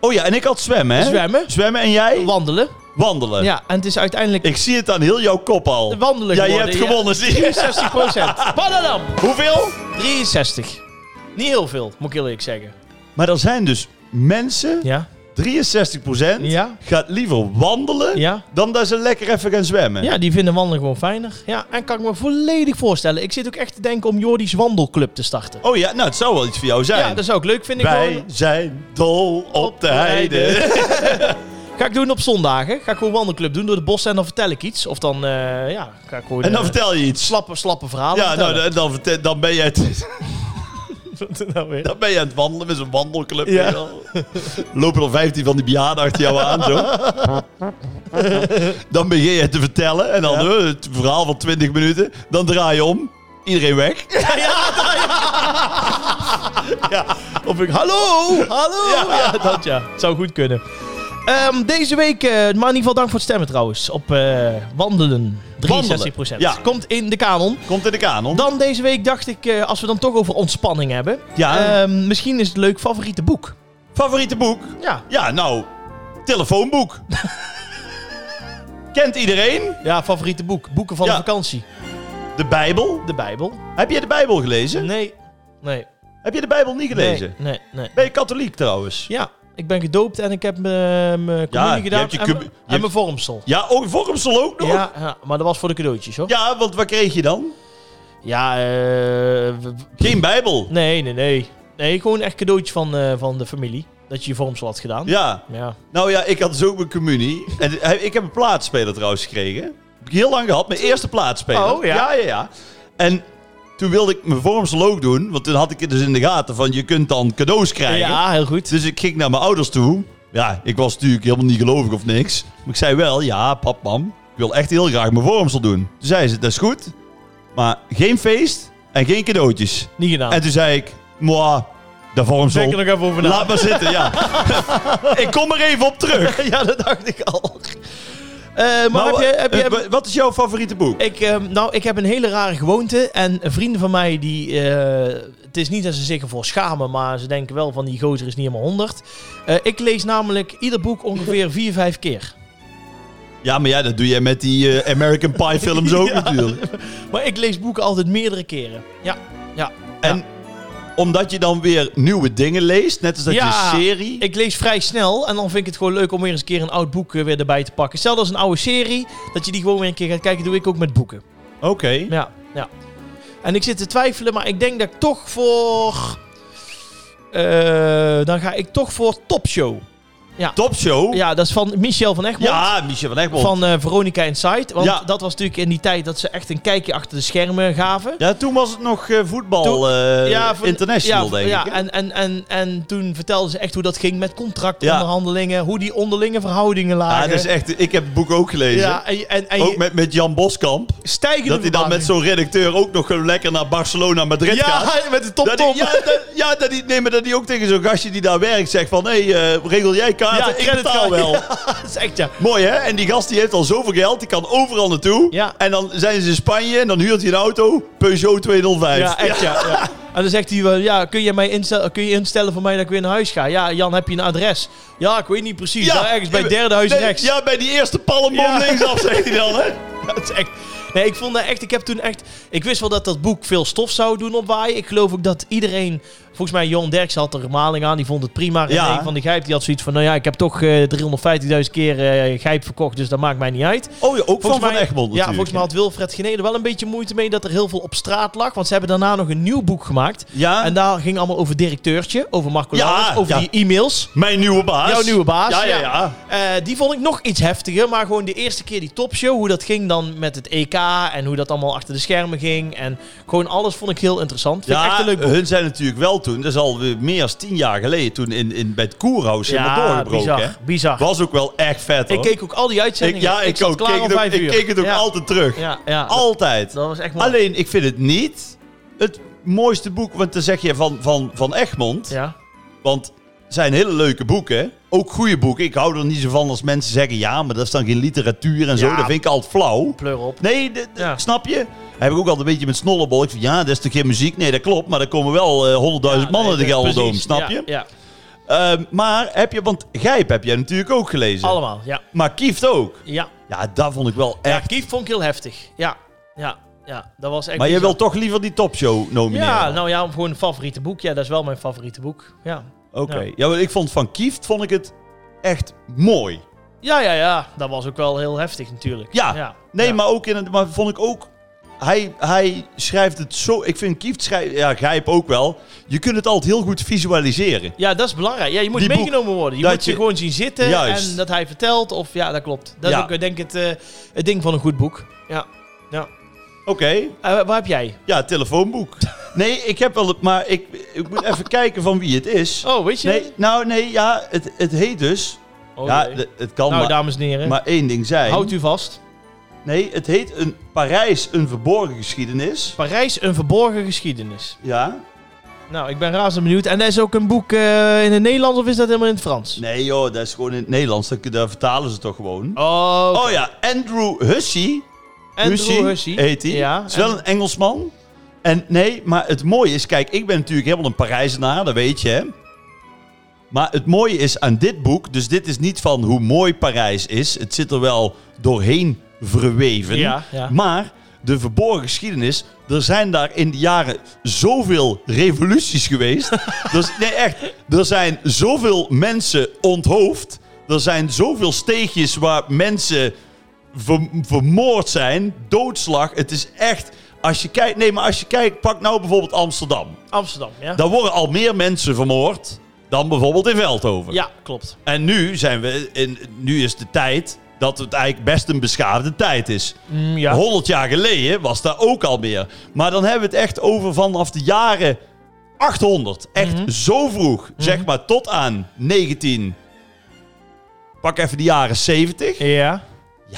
Speaker 2: Oh ja, en ik had zwemmen, hè?
Speaker 1: Zwemmen.
Speaker 2: Zwemmen en jij?
Speaker 1: wandelen.
Speaker 2: Wandelen.
Speaker 1: Ja, en het is uiteindelijk
Speaker 2: Ik zie het aan heel jouw kop al.
Speaker 1: wandelen
Speaker 2: Ja, je
Speaker 1: geworden,
Speaker 2: hebt
Speaker 1: ja.
Speaker 2: gewonnen, zie je.
Speaker 1: 63 procent. Badadam,
Speaker 2: Hoeveel?
Speaker 1: 63. Niet heel veel, moet ik eerlijk zeggen.
Speaker 2: Maar er zijn dus mensen,
Speaker 1: Ja.
Speaker 2: 63%
Speaker 1: Ja.
Speaker 2: gaat liever wandelen
Speaker 1: Ja.
Speaker 2: dan dat ze lekker even gaan zwemmen.
Speaker 1: Ja, die vinden wandelen gewoon fijner. Ja, en kan ik me volledig voorstellen. Ik zit ook echt te denken om Jordi's wandelclub te starten.
Speaker 2: Oh ja, nou het zou wel iets voor jou zijn.
Speaker 1: Ja, dat zou ik leuk vinden.
Speaker 2: Wij
Speaker 1: Gewoon.
Speaker 2: zijn dol op de heide.
Speaker 1: Ga ik doen op zondagen. Ga ik gewoon wandelclub doen door de bossen en dan vertel ik iets. Of dan, eh, ja, ga ik gewoon...
Speaker 2: En dan
Speaker 1: eh,
Speaker 2: vertel je iets.
Speaker 1: slappe, slappe verhalen
Speaker 2: Ja, nou, dan, dan, vertel- dan, ben je het,
Speaker 1: dat... nou weer.
Speaker 2: dan ben je aan het wandelen met zo'n wandelclub.
Speaker 1: Ja.
Speaker 2: weet je wel. Lopen er 15 van die bejaarden achter jou aan. Zo. Dan begin je het te vertellen. En dan eh, het verhaal van 20 minuten. Dan draai je om. Iedereen weg.
Speaker 1: Of ik, hallo, hallo. Ja, dat ja. Het zou goed kunnen. Ehm, deze week, eh, maar in ieder geval dank voor het stemmen trouwens. Op eh, wandelen. 63
Speaker 2: ja.
Speaker 1: Komt in de kanon.
Speaker 2: Komt in de kanon.
Speaker 1: Dan deze week dacht ik, eh, als we dan toch over ontspanning hebben.
Speaker 2: Ja.
Speaker 1: ehm, misschien is het leuk favoriete boek.
Speaker 2: Favoriete boek?
Speaker 1: Ja.
Speaker 2: Ja, nou, telefoonboek. Kent iedereen?
Speaker 1: Ja, favoriete boek. Boeken van
Speaker 2: Ja.
Speaker 1: de vakantie.
Speaker 2: De Bijbel.
Speaker 1: De Bijbel.
Speaker 2: Heb je de Bijbel gelezen?
Speaker 1: Nee. Nee.
Speaker 2: Heb je de Bijbel niet gelezen?
Speaker 1: Nee, nee, nee.
Speaker 2: Ben je katholiek trouwens?
Speaker 1: Ja, ik ben gedoopt en ik heb mijn mijn communie
Speaker 2: je
Speaker 1: gedaan
Speaker 2: hebt je
Speaker 1: en
Speaker 2: commu-
Speaker 1: mijn-
Speaker 2: je
Speaker 1: en
Speaker 2: hebt-
Speaker 1: mijn vormsel.
Speaker 2: Ja, oh, ook Vormsel ook nog?
Speaker 1: Ja, ja, maar dat was voor de cadeautjes hoor.
Speaker 2: Ja, want wat kreeg je dan?
Speaker 1: Ja, eh, w- w-
Speaker 2: Geen Bijbel.
Speaker 1: nee, nee, nee. Nee, gewoon echt cadeautje van, eh, van de familie. Dat je je vormsel had gedaan.
Speaker 2: Ja,
Speaker 1: Ja.
Speaker 2: nou ja, ik had dus ook mijn communie. En eh, ik heb een plaatsspeler trouwens gekregen. Heb ik heel lang gehad, mijn eerste plaatsspeler.
Speaker 1: Oh, ja.
Speaker 2: ja, ja, ja. En toen wilde ik mijn Vormsel ook doen, want toen had ik het dus in de gaten van je kunt dan cadeaus krijgen.
Speaker 1: ja, heel goed.
Speaker 2: Dus ik ging naar mijn ouders toe. Ja, ik was natuurlijk helemaal niet gelovig of niks. Maar ik zei wel, ja, pap, mam, ik wil echt heel graag mijn vormsel doen. Toen zei ze, dat is goed, maar geen feest, En geen cadeautjes.
Speaker 1: Niet gedaan.
Speaker 2: En toen zei ik, moi, dat vormt zo.
Speaker 1: Denk er nog even over na.
Speaker 2: Laat maar zitten, ja. ik kom er even op terug.
Speaker 1: ja, dat dacht ik al. Eh, maar
Speaker 2: Nou,
Speaker 1: heb je... Heb je
Speaker 2: eh, wa- wat is jouw favoriete boek?
Speaker 1: ik, eh, nou, ik heb een hele rare gewoonte. En vrienden van mij, die, eh, het is niet dat ze zich ervoor schamen, maar ze denken wel van die gozer is niet helemaal 100. Eh, ik lees namelijk ieder boek ongeveer vier, vijf keer.
Speaker 2: Ja, maar ja, dat doe jij met die eh, American Pie films ook
Speaker 1: Ja.
Speaker 2: natuurlijk.
Speaker 1: Maar ik lees boeken altijd meerdere keren. Ja, ja.
Speaker 2: En omdat je dan weer nieuwe dingen leest, net als dat
Speaker 1: Ja,
Speaker 2: je serie...
Speaker 1: Ik lees vrij snel en dan vind ik het gewoon leuk om weer eens een keer een oud boek eh, weer erbij te pakken. Stel dat is een oude serie, dat je die gewoon weer een keer gaat kijken, doe ik ook met boeken.
Speaker 2: Oké.
Speaker 1: Ja, ja. En ik zit te twijfelen, maar ik denk dat ik toch voor... eh, dan ga ik toch voor Top Show.
Speaker 2: Topshow.
Speaker 1: Ja, dat is van Michel van Egmond.
Speaker 2: Ja, Michel van Egmond.
Speaker 1: Van eh, Veronica Inside. Want
Speaker 2: Ja.
Speaker 1: dat was natuurlijk in die tijd dat ze echt een kijkje achter de schermen gaven.
Speaker 2: Ja, toen was het nog eh, voetbal
Speaker 1: Toen-
Speaker 2: eh,
Speaker 1: van-
Speaker 2: international,
Speaker 1: ja,
Speaker 2: denk ik.
Speaker 1: ja,
Speaker 2: hè?
Speaker 1: En, en, en, en toen vertelden ze echt hoe dat ging met contractonderhandelingen. Hoe die onderlinge verhoudingen
Speaker 2: Ja,
Speaker 1: lagen.
Speaker 2: Ah, dat is echt, ik heb het boek ook gelezen.
Speaker 1: Ja, en, en, en
Speaker 2: Ook
Speaker 1: je-
Speaker 2: met, met Jan Boskamp.
Speaker 1: stijgende
Speaker 2: Dat hij dan met
Speaker 1: verbazing.
Speaker 2: zo'n redacteur ook nog gewoon lekker naar Barcelona, Madrid gaat.
Speaker 1: Ja, met de top
Speaker 2: Dat
Speaker 1: top.
Speaker 2: hij, ja, dat, ja dat hij, nee, maar dat hij ook tegen zo'n gastje die daar werkt zegt van... Hé, hey, eh, regel jij kaarten, ik
Speaker 1: creditcard.
Speaker 2: betaal wel.
Speaker 1: Ja, dat is echt ja.
Speaker 2: Mooi, hè? En die gast die heeft al zoveel geld, die kan overal naartoe.
Speaker 1: Ja.
Speaker 2: En dan zijn ze in Spanje en dan huurt hij een auto, Peugeot 205.
Speaker 1: Ja, echt ja. ja. En dan zegt hij wel, ja, kun je, mij instel- kun je instellen voor mij dat ik weer naar huis ga? Ja, Jan, heb je een adres? Ja, ik weet niet precies.
Speaker 2: Ja.
Speaker 1: Daar ergens bij het derde huis
Speaker 2: Nee,
Speaker 1: rechts.
Speaker 2: Ja, bij die eerste palmboom
Speaker 1: Ja.
Speaker 2: linksaf, zegt hij dan, hè?
Speaker 1: Dat is echt... Nee, ik vond dat echt... Ik heb toen echt... Ik wist wel dat dat boek veel stof zou doen opwaaien. Ik geloof ook dat iedereen... Volgens mij, Jon Derks had er maling aan. Die vond het prima. En
Speaker 2: Ja.
Speaker 1: René van de Gijp, die had zoiets van... Nou ja, ik heb toch eh, 350.000 keer eh Gijp verkocht. Dus dat maakt mij niet uit.
Speaker 2: Oh ja, ook van Van Egmond
Speaker 1: Ja,
Speaker 2: natuurlijk.
Speaker 1: volgens mij had Wilfred Geneden wel een beetje moeite mee... dat er heel veel op straat lag. Want ze hebben daarna nog een nieuw boek gemaakt.
Speaker 2: Ja,
Speaker 1: En daar ging allemaal over directeurtje. Over Marco
Speaker 2: Ja,
Speaker 1: Lauwers, Over
Speaker 2: ja.
Speaker 1: die e-mails.
Speaker 2: mijn nieuwe baas.
Speaker 1: Jouw nieuwe baas.
Speaker 2: Ja, ja, ja.
Speaker 1: Eh, die vond ik nog iets heftiger, maar gewoon de eerste keer die topshow, hoe dat ging dan met het EK en hoe dat allemaal achter de schermen ging. En gewoon alles vond ik heel interessant. Vind ik
Speaker 2: Ja,
Speaker 1: echt een leuk boek.
Speaker 2: hun zijn natuurlijk wel toen, dat is al weer meer dan tien jaar geleden, toen in, in, bij het Koerhuis helemaal doorgebroken.
Speaker 1: bizar.
Speaker 2: hè.
Speaker 1: bizar.
Speaker 2: Was ook wel echt vet hoor.
Speaker 1: Ik keek ook al die
Speaker 2: Ik-
Speaker 1: uitzendingen.
Speaker 2: ja, ik,
Speaker 1: zat
Speaker 2: ook.
Speaker 1: klaar
Speaker 2: Keek
Speaker 1: om
Speaker 2: het ook-
Speaker 1: vijf
Speaker 2: ik
Speaker 1: uur.
Speaker 2: keek het ook
Speaker 1: Ja.
Speaker 2: altijd terug.
Speaker 1: Ja, ja. Dat-
Speaker 2: Altijd.
Speaker 1: dat was echt mooi.
Speaker 2: Alleen, ik vind het niet het mooiste boek, want dan zeg je van, van, van Egmond.
Speaker 1: Ja.
Speaker 2: Want het zijn hele leuke boeken. Ook goede boeken. Ik hou er niet zo van als mensen zeggen, ja, maar dat is dan geen literatuur en zo.
Speaker 1: Ja.
Speaker 2: Dat vind ik altijd flauw.
Speaker 1: Pleur op.
Speaker 2: Nee, de- de-
Speaker 1: Ja.
Speaker 2: snap je? Heb ik ook altijd een beetje met snollebol. Ik vind, ja, dat is toch geen muziek? Nee, dat klopt. Maar er komen wel eh, 100.000
Speaker 1: Ja,
Speaker 2: mannen
Speaker 1: nee,
Speaker 2: de Gelderdoom,
Speaker 1: precies.
Speaker 2: snap
Speaker 1: Ja,
Speaker 2: je?
Speaker 1: Ja,
Speaker 2: Ehm, maar heb je, want Gijp heb jij natuurlijk ook gelezen.
Speaker 1: allemaal. Ja.
Speaker 2: Maar Kieft ook.
Speaker 1: Ja.
Speaker 2: Ja, dat vond ik wel
Speaker 1: ja,
Speaker 2: echt.
Speaker 1: Kief vond ik heel heftig. Ja, ja, ja. Dat was echt
Speaker 2: maar je
Speaker 1: bizar.
Speaker 2: wil toch liever die topshow nomineren?
Speaker 1: Ja, nou ja, gewoon een favoriete boek. Ja, dat is wel mijn favoriete boek. Ja.
Speaker 2: Oké. Ja. want ik vond van Kieft vond ik het echt mooi.
Speaker 1: Ja, ja, ja. Dat was ook wel heel heftig natuurlijk.
Speaker 2: Ja. Nee,
Speaker 1: Ja.
Speaker 2: maar ook in het, maar vond ik ook. Hij, hij schrijft het zo. Ik vind Kieft schrijft. Ja, Gijp ook wel. Je kunt het altijd heel goed visualiseren.
Speaker 1: Ja, dat is belangrijk. Ja, je moet
Speaker 2: Die boek-
Speaker 1: meegenomen worden. Je
Speaker 2: dat
Speaker 1: moet ze
Speaker 2: je-
Speaker 1: gewoon zien zitten
Speaker 2: Juist.
Speaker 1: en dat hij vertelt. Of ja, dat klopt. Dat
Speaker 2: Ja.
Speaker 1: is ook eh, denk ik het, eh, het ding van een goed boek. Ja. ja.
Speaker 2: Oké.
Speaker 1: Eh, wat heb jij?
Speaker 2: Ja, telefoonboek. Nee, ik heb wel het. Maar ik, ik moet even kijken van wie het is.
Speaker 1: Oh, weet je?
Speaker 2: Nee, nou nee, ja, het, het heet dus.
Speaker 1: Oh,
Speaker 2: ja,
Speaker 1: jee.
Speaker 2: de- het kan
Speaker 1: nou,
Speaker 2: maar,
Speaker 1: dames en heren.
Speaker 2: maar één ding zijn.
Speaker 1: Houd u vast.
Speaker 2: Nee, het heet een Parijs, een verborgen geschiedenis.
Speaker 1: Parijs, een verborgen geschiedenis.
Speaker 2: Ja.
Speaker 1: Nou, ik ben razend benieuwd. En dat is ook een boek eh, in het Nederlands of is dat helemaal in het Frans?
Speaker 2: Nee joh, dat is gewoon in het Nederlands. Dat, daar vertalen ze toch gewoon.
Speaker 1: Oh,
Speaker 2: Oh ja, Andrew Hussey.
Speaker 1: Andrew Hussey.
Speaker 2: Heet hij.
Speaker 1: Ja,
Speaker 2: is wel
Speaker 1: en-
Speaker 2: een Engelsman. En nee, maar het mooie is, kijk, ik ben natuurlijk helemaal een Parijzenaar, dat weet je hè. Maar het mooie is aan dit boek, dus dit is niet van hoe mooi Parijs is. Het zit er wel doorheen verweven.
Speaker 1: Ja, ja.
Speaker 2: Maar de verborgen geschiedenis, er zijn daar in de jaren zoveel revoluties geweest. dus, nee, echt. Er zijn zoveel mensen onthoofd. Er zijn zoveel steegjes waar mensen ver- vermoord zijn. Doodslag. Het is echt. Als je kijkt, nee, maar als je kijkt, pak nou bijvoorbeeld Amsterdam.
Speaker 1: Amsterdam, ja?
Speaker 2: Daar worden al meer mensen vermoord dan bijvoorbeeld in Veldhoven.
Speaker 1: Ja, klopt.
Speaker 2: En nu zijn we in, nu is de tijd dat het eigenlijk best een beschaafde tijd is.
Speaker 1: Mm, ja.
Speaker 2: 100 jaar geleden was daar ook al meer. Maar dan hebben we het echt over vanaf de jaren 800. Echt
Speaker 1: Mhm.
Speaker 2: zo vroeg, zeg maar tot aan 19. Pak even de jaren 70.
Speaker 1: Ja.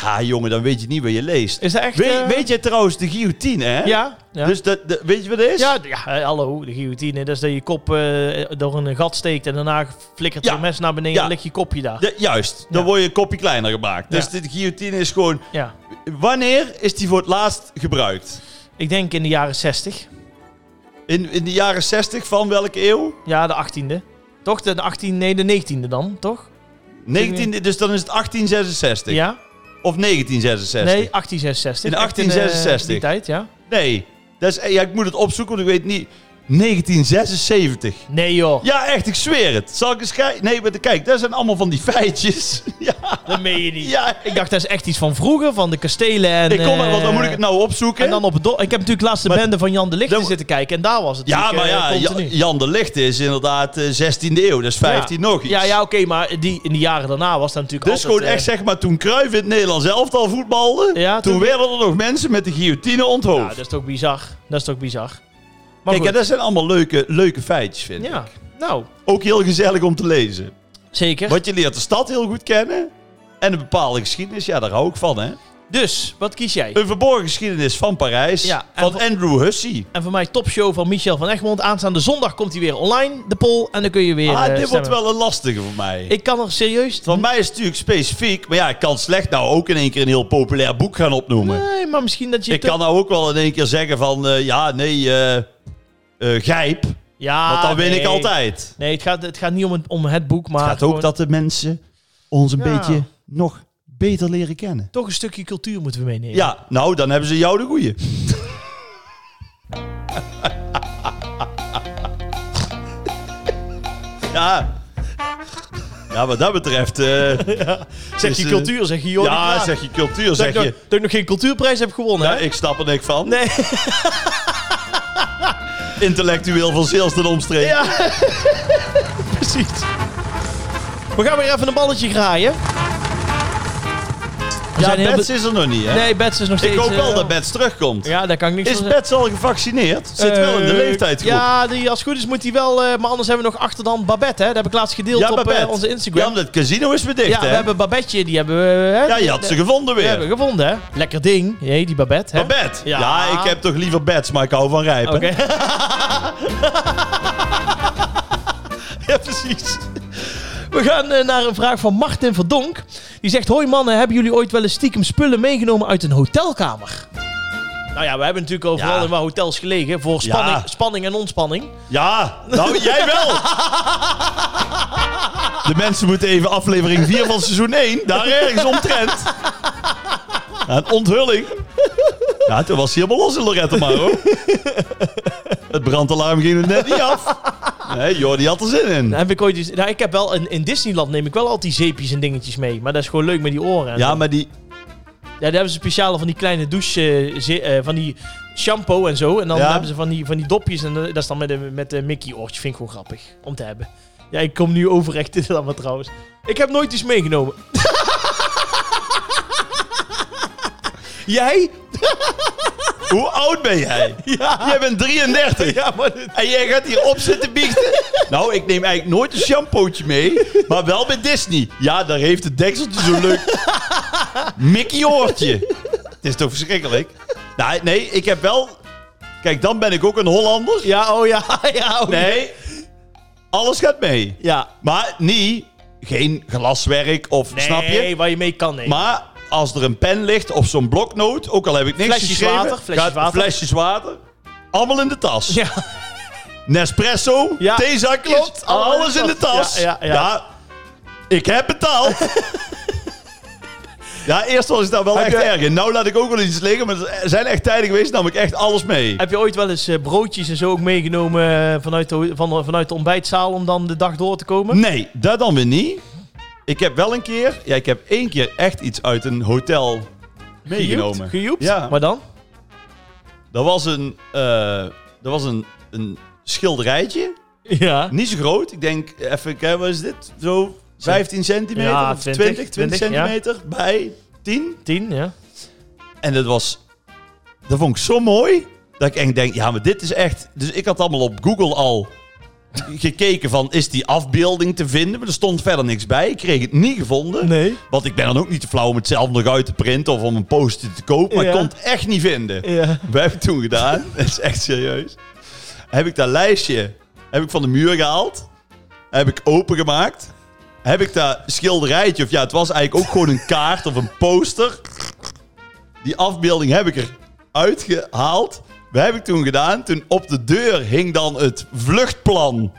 Speaker 2: Ja, jongen, dan weet je niet wat je leest.
Speaker 1: Is dat echt...
Speaker 2: Weet,
Speaker 1: eh,
Speaker 2: weet je trouwens de guillotine, hè?
Speaker 1: Ja. Ja.
Speaker 2: Dus dat, dat- weet je wat het is?
Speaker 1: ja, ja, eh, hallo, de guillotine. Dat is dat je kop eh, door een gat steekt en daarna flikkert
Speaker 2: Ja.
Speaker 1: er een mes naar beneden
Speaker 2: Ja.
Speaker 1: en ligt je kopje daar.
Speaker 2: De- juist, dan
Speaker 1: Ja.
Speaker 2: word je een kopje kleiner gemaakt. Dus
Speaker 1: Ja.
Speaker 2: de guillotine is gewoon...
Speaker 1: Ja.
Speaker 2: Wanneer is die voor het laatst gebruikt?
Speaker 1: Ik denk in de jaren 60.
Speaker 2: In, in de jaren 60 van welke eeuw?
Speaker 1: Ja, de 18e. Toch? De 18 nee, de 19e dan, toch?
Speaker 2: 19, dus dan is het 1866.
Speaker 1: Ja?
Speaker 2: Of 1966.
Speaker 1: Nee, 1866.
Speaker 2: In
Speaker 1: Echt eh,
Speaker 2: 1866.
Speaker 1: die tijd, ja.
Speaker 2: Nee. Dat is, ja, ik moet het opzoeken, want ik weet niet. 1976.
Speaker 1: Nee joh,
Speaker 2: Ja, echt, ik zweer het. Zal ik eens kijken? Nee, maar kijk, dat zijn allemaal van die feitjes. ja,
Speaker 1: dat meen je niet.
Speaker 2: ja.
Speaker 1: Ik dacht, dat is echt iets van vroeger, van de kastelen en...
Speaker 2: Ik kom er,
Speaker 1: eh,
Speaker 2: want dan moet ik het nou opzoeken.
Speaker 1: En dan op het do- Ik heb natuurlijk laatst de
Speaker 2: Maar-
Speaker 1: bende van Jan de Lichter
Speaker 2: Dan-
Speaker 1: zitten kijken en daar was het
Speaker 2: ja, maar
Speaker 1: natuurlijk,
Speaker 2: ja,
Speaker 1: eh,
Speaker 2: Ja-
Speaker 1: continu.
Speaker 2: Jan de Licht is inderdaad eh, 16e eeuw, dat is 15 nog iets.
Speaker 1: Ja, ja oké, maar die, in de jaren daarna was dat natuurlijk
Speaker 2: Dus
Speaker 1: altijd...
Speaker 2: gewoon echt,
Speaker 1: eh,
Speaker 2: zeg maar, toen Cruijff in het Nederlands elftal voetbalde,
Speaker 1: Ja,
Speaker 2: toen,
Speaker 1: toen-
Speaker 2: werden er nog mensen met de guillotine onthoofd.
Speaker 1: Ja, dat is toch bizar. Dat is toch bizar. Maar
Speaker 2: Kijk,
Speaker 1: goed.
Speaker 2: en dat zijn allemaal leuke, leuke feitjes, vind ik.
Speaker 1: Ja, nou,
Speaker 2: Ook heel gezellig om te lezen.
Speaker 1: zeker.
Speaker 2: Want je leert de stad heel goed kennen. En een bepaalde geschiedenis, ja, daar hou ik van, hè.
Speaker 1: Dus, wat kies jij?
Speaker 2: Een verborgen geschiedenis van Parijs,
Speaker 1: Ja, en
Speaker 2: van
Speaker 1: vo-
Speaker 2: Andrew Hussey.
Speaker 1: En voor mij topshow van Michel van Egmond. Aanstaande zondag komt hij weer online, de poll. En dan kun je weer
Speaker 2: ah,
Speaker 1: eh,
Speaker 2: dit wordt
Speaker 1: stemmen.
Speaker 2: wel een lastige voor mij.
Speaker 1: Ik kan er serieus...
Speaker 2: Van mij is het natuurlijk specifiek, maar ja, ik kan slecht nou ook in één keer een heel populair boek gaan opnoemen.
Speaker 1: Nee, maar misschien dat je...
Speaker 2: ik
Speaker 1: toch-
Speaker 2: kan nou ook wel in één keer zeggen van, eh, ja, nee, eh eh, Gijp,
Speaker 1: Ja,
Speaker 2: want dan win Ah, ik
Speaker 1: nee.
Speaker 2: altijd.
Speaker 1: Nee, het gaat, het gaat niet om het, om het boek, maar
Speaker 2: Het gaat
Speaker 1: gewoon-
Speaker 2: ook dat de mensen ons een
Speaker 1: Ja.
Speaker 2: beetje nog beter leren kennen.
Speaker 1: toch een stukje cultuur moeten we meenemen.
Speaker 2: Ja, nou, dan hebben ze jou de goeie. ja. Ja, wat dat betreft... eh,
Speaker 1: zeg
Speaker 2: dus,
Speaker 1: je
Speaker 2: eh,
Speaker 1: cultuur, zeg je joh.
Speaker 2: ja, zeg je cultuur,
Speaker 1: dat, ik
Speaker 2: zeg
Speaker 1: nog-
Speaker 2: je.
Speaker 1: dat ik nog geen cultuurprijs heb gewonnen,
Speaker 2: Ja,
Speaker 1: hè?
Speaker 2: ik snap er niks van.
Speaker 1: Nee.
Speaker 2: Intellectueel van Zeels ten omstreken.
Speaker 1: Ja. Precies. We gaan weer even een balletje graaien. We
Speaker 2: Ja,
Speaker 1: zijn heel
Speaker 2: Bets
Speaker 1: be-
Speaker 2: is er nog niet, hè?
Speaker 1: Nee, Bets is nog steeds...
Speaker 2: ik hoop wel
Speaker 1: eh,
Speaker 2: dat Bets terugkomt.
Speaker 1: Ja, daar kan ik niks
Speaker 2: Is
Speaker 1: van zeggen.
Speaker 2: Bets al gevaccineerd? Zit wel in de
Speaker 1: Eh,
Speaker 2: leeftijdsgroep.
Speaker 1: Ja, die, als het goed is moet hij wel... eh, maar anders hebben we nog achter dan Babette, hè? Dat heb ik laatst gedeeld
Speaker 2: Ja,
Speaker 1: op eh,
Speaker 2: Babette.
Speaker 1: onze
Speaker 2: Ja,
Speaker 1: Instagram.
Speaker 2: omdat het casino is weer dicht,
Speaker 1: Ja, we
Speaker 2: hè?
Speaker 1: hebben Babetje, die hebben we... Hè?
Speaker 2: Ja, je had ze gevonden
Speaker 1: We
Speaker 2: weer.
Speaker 1: hebben gevonden, hè? Lekker ding. Jee, die Babette, hè?
Speaker 2: Maar bed? Ja.
Speaker 1: Ja.
Speaker 2: ik heb toch liever beds, maar ik hou van rijpen.
Speaker 1: Oké. ja, precies. We gaan eh, naar een vraag van Martin Verdonk. Die zegt: Hoi mannen, hebben jullie ooit wel eens stiekem spullen meegenomen uit een hotelkamer? Nou ja, we hebben natuurlijk overal
Speaker 2: Ja.
Speaker 1: in wat hotels gelegen voor
Speaker 2: Ja.
Speaker 1: spanning, spanning en ontspanning.
Speaker 2: Ja, nou jij wel. De mensen moeten even aflevering 4 van seizoen 1, daar ergens omtrent. Een onthulling. Ja, toen was hij helemaal los in Lorette maar hoor. Het brandalarm ging er net niet af. Nee, joh, die had er zin in.
Speaker 1: Daar heb ik, ooit eens- nou, ik heb wel in, in Disneyland neem ik wel al die zeepjes en dingetjes mee. Maar dat is gewoon leuk met die oren. en
Speaker 2: Ja,
Speaker 1: zo.
Speaker 2: maar die...
Speaker 1: Ja, daar hebben ze speciale van die kleine douche, eh, ze- eh, van die shampoo en zo. En dan
Speaker 2: Ja.
Speaker 1: hebben ze van die, van die dopjes en eh, dat is dan met een met een Mickey-oortje. Vind ik gewoon grappig om te hebben. Ja, ik kom nu overrecht dit allemaal trouwens. Ik heb nooit iets meegenomen. Jij?
Speaker 2: Hoe oud ben jij?
Speaker 1: Ja.
Speaker 2: Jij bent 33.
Speaker 1: Ja, maar dit-
Speaker 2: En jij gaat hier op zitten biechten. Nou, ik neem eigenlijk nooit een shampootje mee. Maar wel bij Disney. Ja, daar heeft het dekseltje zo'n leuk Mickey-oortje. Het is toch verschrikkelijk? Nou, nee, ik heb wel... Kijk, dan ben ik ook een Hollander.
Speaker 1: Ja, oh ja, ja, oh ja.
Speaker 2: Nee, alles gaat mee.
Speaker 1: Ja.
Speaker 2: Maar niet... Geen glaswerk of... snap je?
Speaker 1: Nee, waar je mee kan, nee.
Speaker 2: Maar als er een pen ligt of zo'n bloknoot... Ook al heb ik niks
Speaker 1: Flesjes
Speaker 2: geschreven...
Speaker 1: water, flesjes
Speaker 2: gaat-
Speaker 1: water.
Speaker 2: Flesjes water. Allemaal in de tas.
Speaker 1: ja.
Speaker 2: Nespresso,
Speaker 1: Ja.
Speaker 2: theezak, klopt.
Speaker 1: Klopt,
Speaker 2: Alles in de tas.
Speaker 1: Ja, ja, ja.
Speaker 2: ik heb betaald. ja, eerst was ik daar wel
Speaker 1: Heb
Speaker 2: echt
Speaker 1: je-
Speaker 2: erg in. Nou laat ik ook wel iets liggen, maar er zijn echt tijden geweest, nam ik echt alles mee.
Speaker 1: Heb je ooit wel eens eh, broodjes en zo ook meegenomen eh, vanuit de, van, vanuit de ontbijtzaal om dan de dag door te komen?
Speaker 2: Nee, dat dan weer niet. Ik heb wel een keer, ja, ik heb één keer echt iets uit een hotel meegenomen.
Speaker 1: Gejoept? Gejoept?
Speaker 2: Ja.
Speaker 1: Maar dan?
Speaker 2: Dat was een, eh, dat was een, een schilderijtje.
Speaker 1: Ja.
Speaker 2: Niet zo groot. Ik denk, even kijken, wat is dit? Zo 15 centimeter
Speaker 1: Ja,
Speaker 2: of 20,
Speaker 1: 20,
Speaker 2: 20,
Speaker 1: 20, ja.
Speaker 2: centimeter bij 10.
Speaker 1: 10, ja.
Speaker 2: En dat was, dat vond ik zo mooi, dat ik echt denk, ja, maar dit is echt... Dus ik had allemaal op Google al gekeken van, is die afbeelding te vinden? Maar er stond verder niks bij. Ik kreeg het niet gevonden.
Speaker 1: Nee.
Speaker 2: Want ik ben dan ook niet te flauw om het zelf nog uit te printen of om een poster te kopen. Maar
Speaker 1: Ja.
Speaker 2: ik kon het echt niet vinden.
Speaker 1: Ja.
Speaker 2: eh, We hebben het toen gedaan. Dat is echt serieus. Heb ik dat lijstje heb ik van de muur gehaald. Heb ik opengemaakt. Heb ik dat schilderijtje, of ja, het was eigenlijk ook gewoon een kaart of een poster. Die afbeelding heb ik eruit gehaald. Wat heb ik toen gedaan? Toen op de deur hing dan het vluchtplan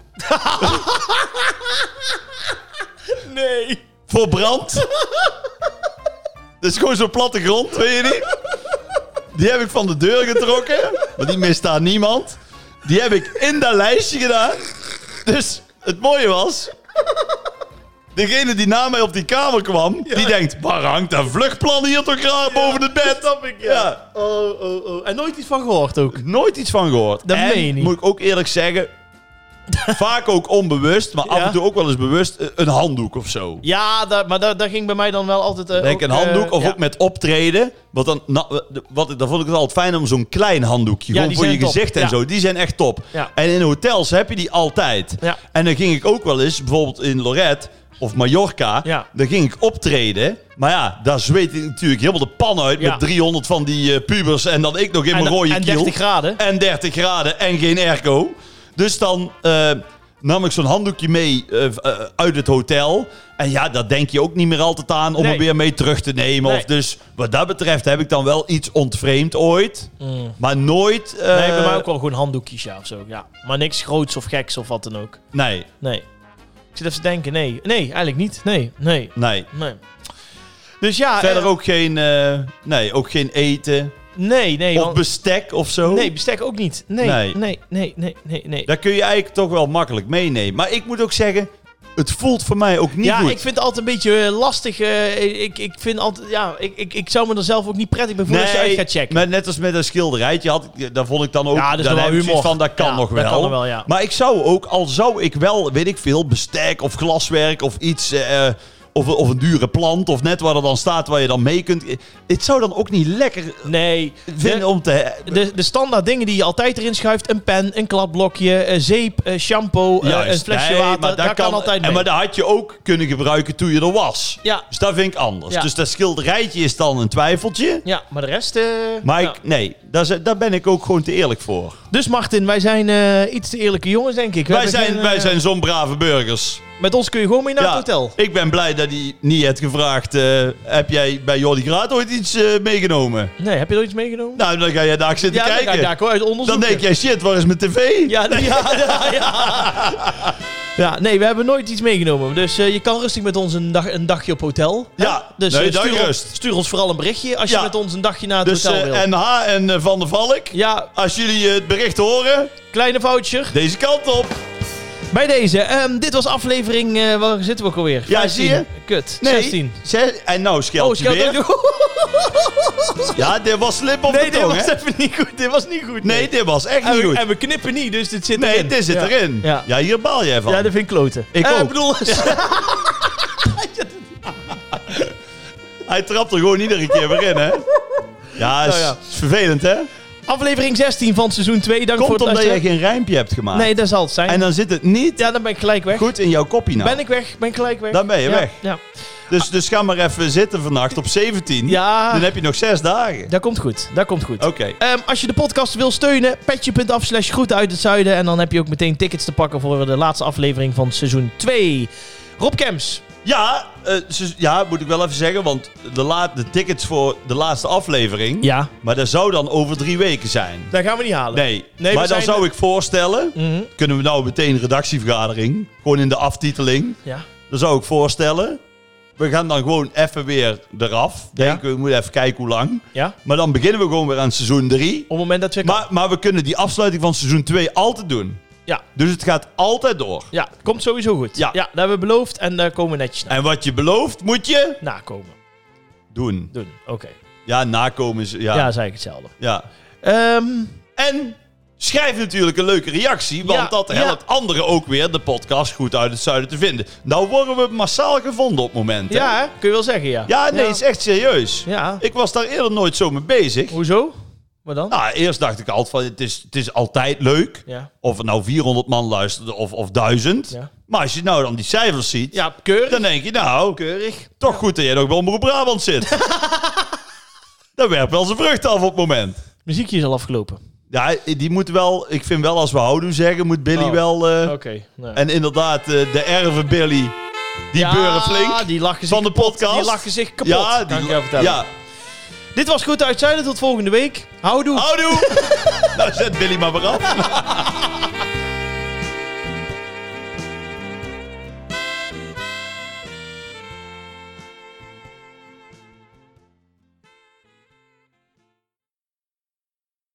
Speaker 1: Nee.
Speaker 2: voor brand. Dat is gewoon zo'n platte grond, weet je niet? Die heb ik van de deur getrokken, want die mist daar niemand. Die heb ik in dat lijstje gedaan. Dus het mooie was... Degene die na mij op die kamer kwam, die denkt... Waar hangt dat vluchtplan hier toch raar boven het bed?
Speaker 1: Snap ik, ja.
Speaker 2: Ja.
Speaker 1: Oh, oh, oh. En nooit iets van gehoord ook.
Speaker 2: Nooit iets van gehoord.
Speaker 1: Dat
Speaker 2: en,
Speaker 1: meen je niet.
Speaker 2: moet ik ook eerlijk zeggen... vaak ook onbewust, maar af
Speaker 1: Ja.
Speaker 2: en toe ook wel eens bewust... eh, Een handdoek of zo.
Speaker 1: Ja, dat, maar dat, dat ging bij mij dan wel altijd... eh,
Speaker 2: Denk
Speaker 1: ook,
Speaker 2: een handdoek
Speaker 1: eh,
Speaker 2: of
Speaker 1: ja.
Speaker 2: ook met optreden. Want dan, na- eh, wat, dan vond ik het altijd fijn om zo'n klein
Speaker 1: Ja,
Speaker 2: handdoekje. gewoon
Speaker 1: die
Speaker 2: voor je
Speaker 1: zijn top.
Speaker 2: gezicht en
Speaker 1: Ja.
Speaker 2: zo. Die zijn echt top.
Speaker 1: Ja.
Speaker 2: En in hotels heb je die altijd.
Speaker 1: Ja.
Speaker 2: En dan ging ik ook wel eens, bijvoorbeeld in Lorette of Mallorca.
Speaker 1: Ja.
Speaker 2: Dan ging ik optreden. Maar ja, daar zweet ik natuurlijk helemaal de pan uit.
Speaker 1: Ja.
Speaker 2: Met 300 van die eh, pubers. En dan ik nog in mijn
Speaker 1: En,
Speaker 2: rode
Speaker 1: en
Speaker 2: kiel.
Speaker 1: 30 graden.
Speaker 2: En 30 graden en geen airco. Dus dan eh, nam ik zo'n handdoekje mee eh, v- eh, uit het hotel. En ja, dat denk je ook niet meer altijd aan om
Speaker 1: Nee.
Speaker 2: er weer mee terug te nemen.
Speaker 1: Nee.
Speaker 2: Of dus wat dat betreft heb ik dan wel iets ontvreemd ooit. Maar nooit... eh,
Speaker 1: Mm. Nee, bij mij ook wel gewoon handdoekjes ja, of zo. Ja. Maar niks groots of geks of wat dan ook.
Speaker 2: Nee,
Speaker 1: Nee. Ik zit even te denken, nee. Nee, eigenlijk niet. Nee, nee,
Speaker 2: nee.
Speaker 1: nee. Dus ja...
Speaker 2: Verder
Speaker 1: eh,
Speaker 2: ook geen, eh, nee, ook geen eten.
Speaker 1: Nee, nee.
Speaker 2: Of
Speaker 1: want-
Speaker 2: bestek of zo.
Speaker 1: nee, bestek ook niet. Nee, nee,
Speaker 2: Nee.
Speaker 1: nee, nee, nee, nee.
Speaker 2: Dat kun je eigenlijk toch wel makkelijk meenemen. Maar ik moet ook zeggen, het voelt voor mij ook niet
Speaker 1: ja,
Speaker 2: goed.
Speaker 1: ik vind het altijd een beetje eh, lastig. eh, ik, ik vind altijd... Ja, ik, ik, ik zou me er zelf ook niet prettig bij voelen als je uit gaat checken.
Speaker 2: Maar net als met een schilderijtje, had, ik- daar vond ik dan ook...
Speaker 1: Ja, dat is
Speaker 2: dan
Speaker 1: wel
Speaker 2: heb ik
Speaker 1: humor.
Speaker 2: zoiets van, dat kan
Speaker 1: Ja,
Speaker 2: nog
Speaker 1: dat
Speaker 2: wel.
Speaker 1: kan nog wel, ja.
Speaker 2: Maar ik zou ook, al zou ik wel, weet ik veel, bestek of glaswerk of iets... eh, of, of een dure plant of net waar er dan staat waar je dan mee kunt. Het zou dan ook niet lekker
Speaker 1: nee.
Speaker 2: vinden om te...
Speaker 1: De, de standaard dingen die je altijd erin schuift. Een pen, een klapblokje, eh, zeep, eh, shampoo, eh,
Speaker 2: Juist,
Speaker 1: een flesje
Speaker 2: nee,
Speaker 1: water.
Speaker 2: maar
Speaker 1: dat, kan, altijd mee.
Speaker 2: En maar dat had je ook kunnen gebruiken toen je er was.
Speaker 1: Ja.
Speaker 2: Dus dat vind ik anders.
Speaker 1: Ja.
Speaker 2: Dus dat schilderijtje is dan een twijfeltje.
Speaker 1: ja, maar de rest... eh,
Speaker 2: Maar
Speaker 1: ja.
Speaker 2: ik, nee, daar, z- daar ben ik ook gewoon te eerlijk voor.
Speaker 1: Dus Martin, wij zijn eh, iets te eerlijke jongens, denk ik. We
Speaker 2: Wij
Speaker 1: hebben
Speaker 2: zijn,
Speaker 1: geen, eh,
Speaker 2: wij zijn zo'n brave burgers.
Speaker 1: Met ons kun je gewoon mee naar het hotel.
Speaker 2: Ik ben blij dat hij niet heeft gevraagd: eh, heb jij bij Jordi Graat ooit iets eh, meegenomen?
Speaker 1: Nee, heb je er iets meegenomen?
Speaker 2: Nou, dan ga jij daar zitten
Speaker 1: ja,
Speaker 2: kijken.
Speaker 1: ja, ja, uit onderzoek.
Speaker 2: dan denk jij: shit, waar is mijn tv?
Speaker 1: Ja, ja, ja, ja. Ja, nee, we hebben nooit iets meegenomen. Dus eh, je kan rustig met ons een, dag, een dagje op hotel. hè?
Speaker 2: Ja,
Speaker 1: dus
Speaker 2: nee,
Speaker 1: eh,
Speaker 2: dat
Speaker 1: stuur,
Speaker 2: rust.
Speaker 1: Ons, stuur ons vooral een berichtje als je
Speaker 2: Ja.
Speaker 1: met ons een dagje naar het
Speaker 2: Dus
Speaker 1: hotel wil.
Speaker 2: eh, NH en eh, Van der Valk,
Speaker 1: Ja,
Speaker 2: als jullie eh, het bericht horen,
Speaker 1: kleine voucher.
Speaker 2: deze kant op.
Speaker 1: Bij deze, ehm, dit was aflevering, eh, waar zitten we ook alweer?
Speaker 2: Ja, zie je?
Speaker 1: Kut,
Speaker 2: Nee,
Speaker 1: 16.
Speaker 2: zes- en nou,
Speaker 1: Oh,
Speaker 2: scheld je
Speaker 1: scheld
Speaker 2: weer. Ja, dit was slip op
Speaker 1: Nee,
Speaker 2: de
Speaker 1: dit
Speaker 2: tong,
Speaker 1: was
Speaker 2: hè?
Speaker 1: even niet goed. Dit was niet goed.
Speaker 2: Nee, dit was echt
Speaker 1: En
Speaker 2: niet
Speaker 1: we,
Speaker 2: goed.
Speaker 1: en we knippen niet, dus dit zit
Speaker 2: Nee,
Speaker 1: erin.
Speaker 2: dit zit
Speaker 1: Ja.
Speaker 2: erin.
Speaker 1: Ja.
Speaker 2: Ja. hier baal jij van.
Speaker 1: Ja, dat vind ik kloten.
Speaker 2: Ik
Speaker 1: Eh,
Speaker 2: ook.
Speaker 1: Ik bedoel,
Speaker 2: Hij trapt er gewoon iedere keer weer in, hè? Ja, is,
Speaker 1: Nou ja.
Speaker 2: is vervelend, hè?
Speaker 1: aflevering 16 van seizoen 2. Dank voor
Speaker 2: Komt
Speaker 1: het
Speaker 2: omdat jij
Speaker 1: luisteren.
Speaker 2: geen rijmpje hebt gemaakt.
Speaker 1: Nee, dat zal het zijn.
Speaker 2: En dan zit het niet
Speaker 1: ja, dan ben ik gelijk weg.
Speaker 2: goed in jouw kopie nou.
Speaker 1: Ben ik weg, ben ik gelijk weg.
Speaker 2: Dan ben je
Speaker 1: Ja,
Speaker 2: weg.
Speaker 1: Ja.
Speaker 2: Dus, dus ga maar even zitten vannacht op 17.
Speaker 1: Ja.
Speaker 2: Dan heb je nog zes dagen.
Speaker 1: dat komt goed. Dat komt goed.
Speaker 2: Oké.
Speaker 1: Ehm, als je de podcast wil steunen, petje.af slash groeten uit het zuiden. En dan heb je ook meteen tickets te pakken voor de laatste aflevering van seizoen 2. Rob Kems.
Speaker 2: Ja, eh, ze- ja, moet ik wel even zeggen, want de, la- de tickets voor de laatste aflevering...
Speaker 1: Ja.
Speaker 2: Maar dat zou dan over drie weken zijn.
Speaker 1: Dat gaan we niet halen.
Speaker 2: Nee,
Speaker 1: Nee, we
Speaker 2: maar dan
Speaker 1: zijn-
Speaker 2: zou ik voorstellen...
Speaker 1: Mhm.
Speaker 2: Kunnen we nou meteen redactievergadering? Gewoon in de aftiteling.
Speaker 1: Ja.
Speaker 2: Dan zou ik voorstellen... We gaan dan gewoon even weer eraf. Denken, we moeten even kijken hoe lang.
Speaker 1: Ja.
Speaker 2: Maar dan beginnen we gewoon weer aan seizoen 3.
Speaker 1: Op het moment dat we...
Speaker 2: Maar, maar we kunnen die afsluiting van seizoen 2 altijd doen.
Speaker 1: Ja.
Speaker 2: Dus het gaat altijd door.
Speaker 1: Ja, komt sowieso goed.
Speaker 2: Ja.
Speaker 1: ja dat hebben we beloofd en daar komen we netjes na.
Speaker 2: En wat je belooft, moet je
Speaker 1: nakomen.
Speaker 2: doen.
Speaker 1: Doen. Oké.
Speaker 2: Ja, nakomen is... Ja.
Speaker 1: Ja,
Speaker 2: ja.
Speaker 1: dat is eigenlijk hetzelfde. Ehm,
Speaker 2: En schrijf natuurlijk een leuke reactie. Want
Speaker 1: Ja,
Speaker 2: dat
Speaker 1: ja.
Speaker 2: helpt anderen ook weer de podcast goed uit het zuiden te vinden. Nou worden we massaal gevonden op momenten.
Speaker 1: ja, hè? kun je wel zeggen, ja.
Speaker 2: Ja, nee, het is echt serieus.
Speaker 1: Ja.
Speaker 2: Ik was daar eerder nooit zo mee bezig.
Speaker 1: Hoezo? Maar dan?
Speaker 2: Nou, eerst dacht ik altijd van, het is, het is altijd leuk.
Speaker 1: Ja.
Speaker 2: Of er nou 400 man luisterde of, of 1000.
Speaker 1: Ja.
Speaker 2: Maar als je nou dan die cijfers ziet,
Speaker 1: Ja, keurig.
Speaker 2: dan denk je nou,
Speaker 1: Keurig.
Speaker 2: toch goed dat jij nog bij Omroep Brabant zit. dat werpt wel zijn vrucht af op het moment.
Speaker 1: Muziekje is al afgelopen.
Speaker 2: Ja, die moet wel, ik vind wel als we houdoe zeggen, moet Billy
Speaker 1: Oh.
Speaker 2: wel... eh,
Speaker 1: Oké. nou.
Speaker 2: En inderdaad, eh, de erven Billy, die
Speaker 1: Ja,
Speaker 2: beuren flink
Speaker 1: Die lachen zich
Speaker 2: van de podcast.
Speaker 1: Die lachen zich kapot,
Speaker 2: ja,
Speaker 1: kan
Speaker 2: die
Speaker 1: ik jou
Speaker 2: la-
Speaker 1: vertellen.
Speaker 2: ja,
Speaker 1: Dit was Goed Uit Zuiden. Tot volgende week. Houdoe.
Speaker 2: houdoe! nou, zet Billy maar weer af.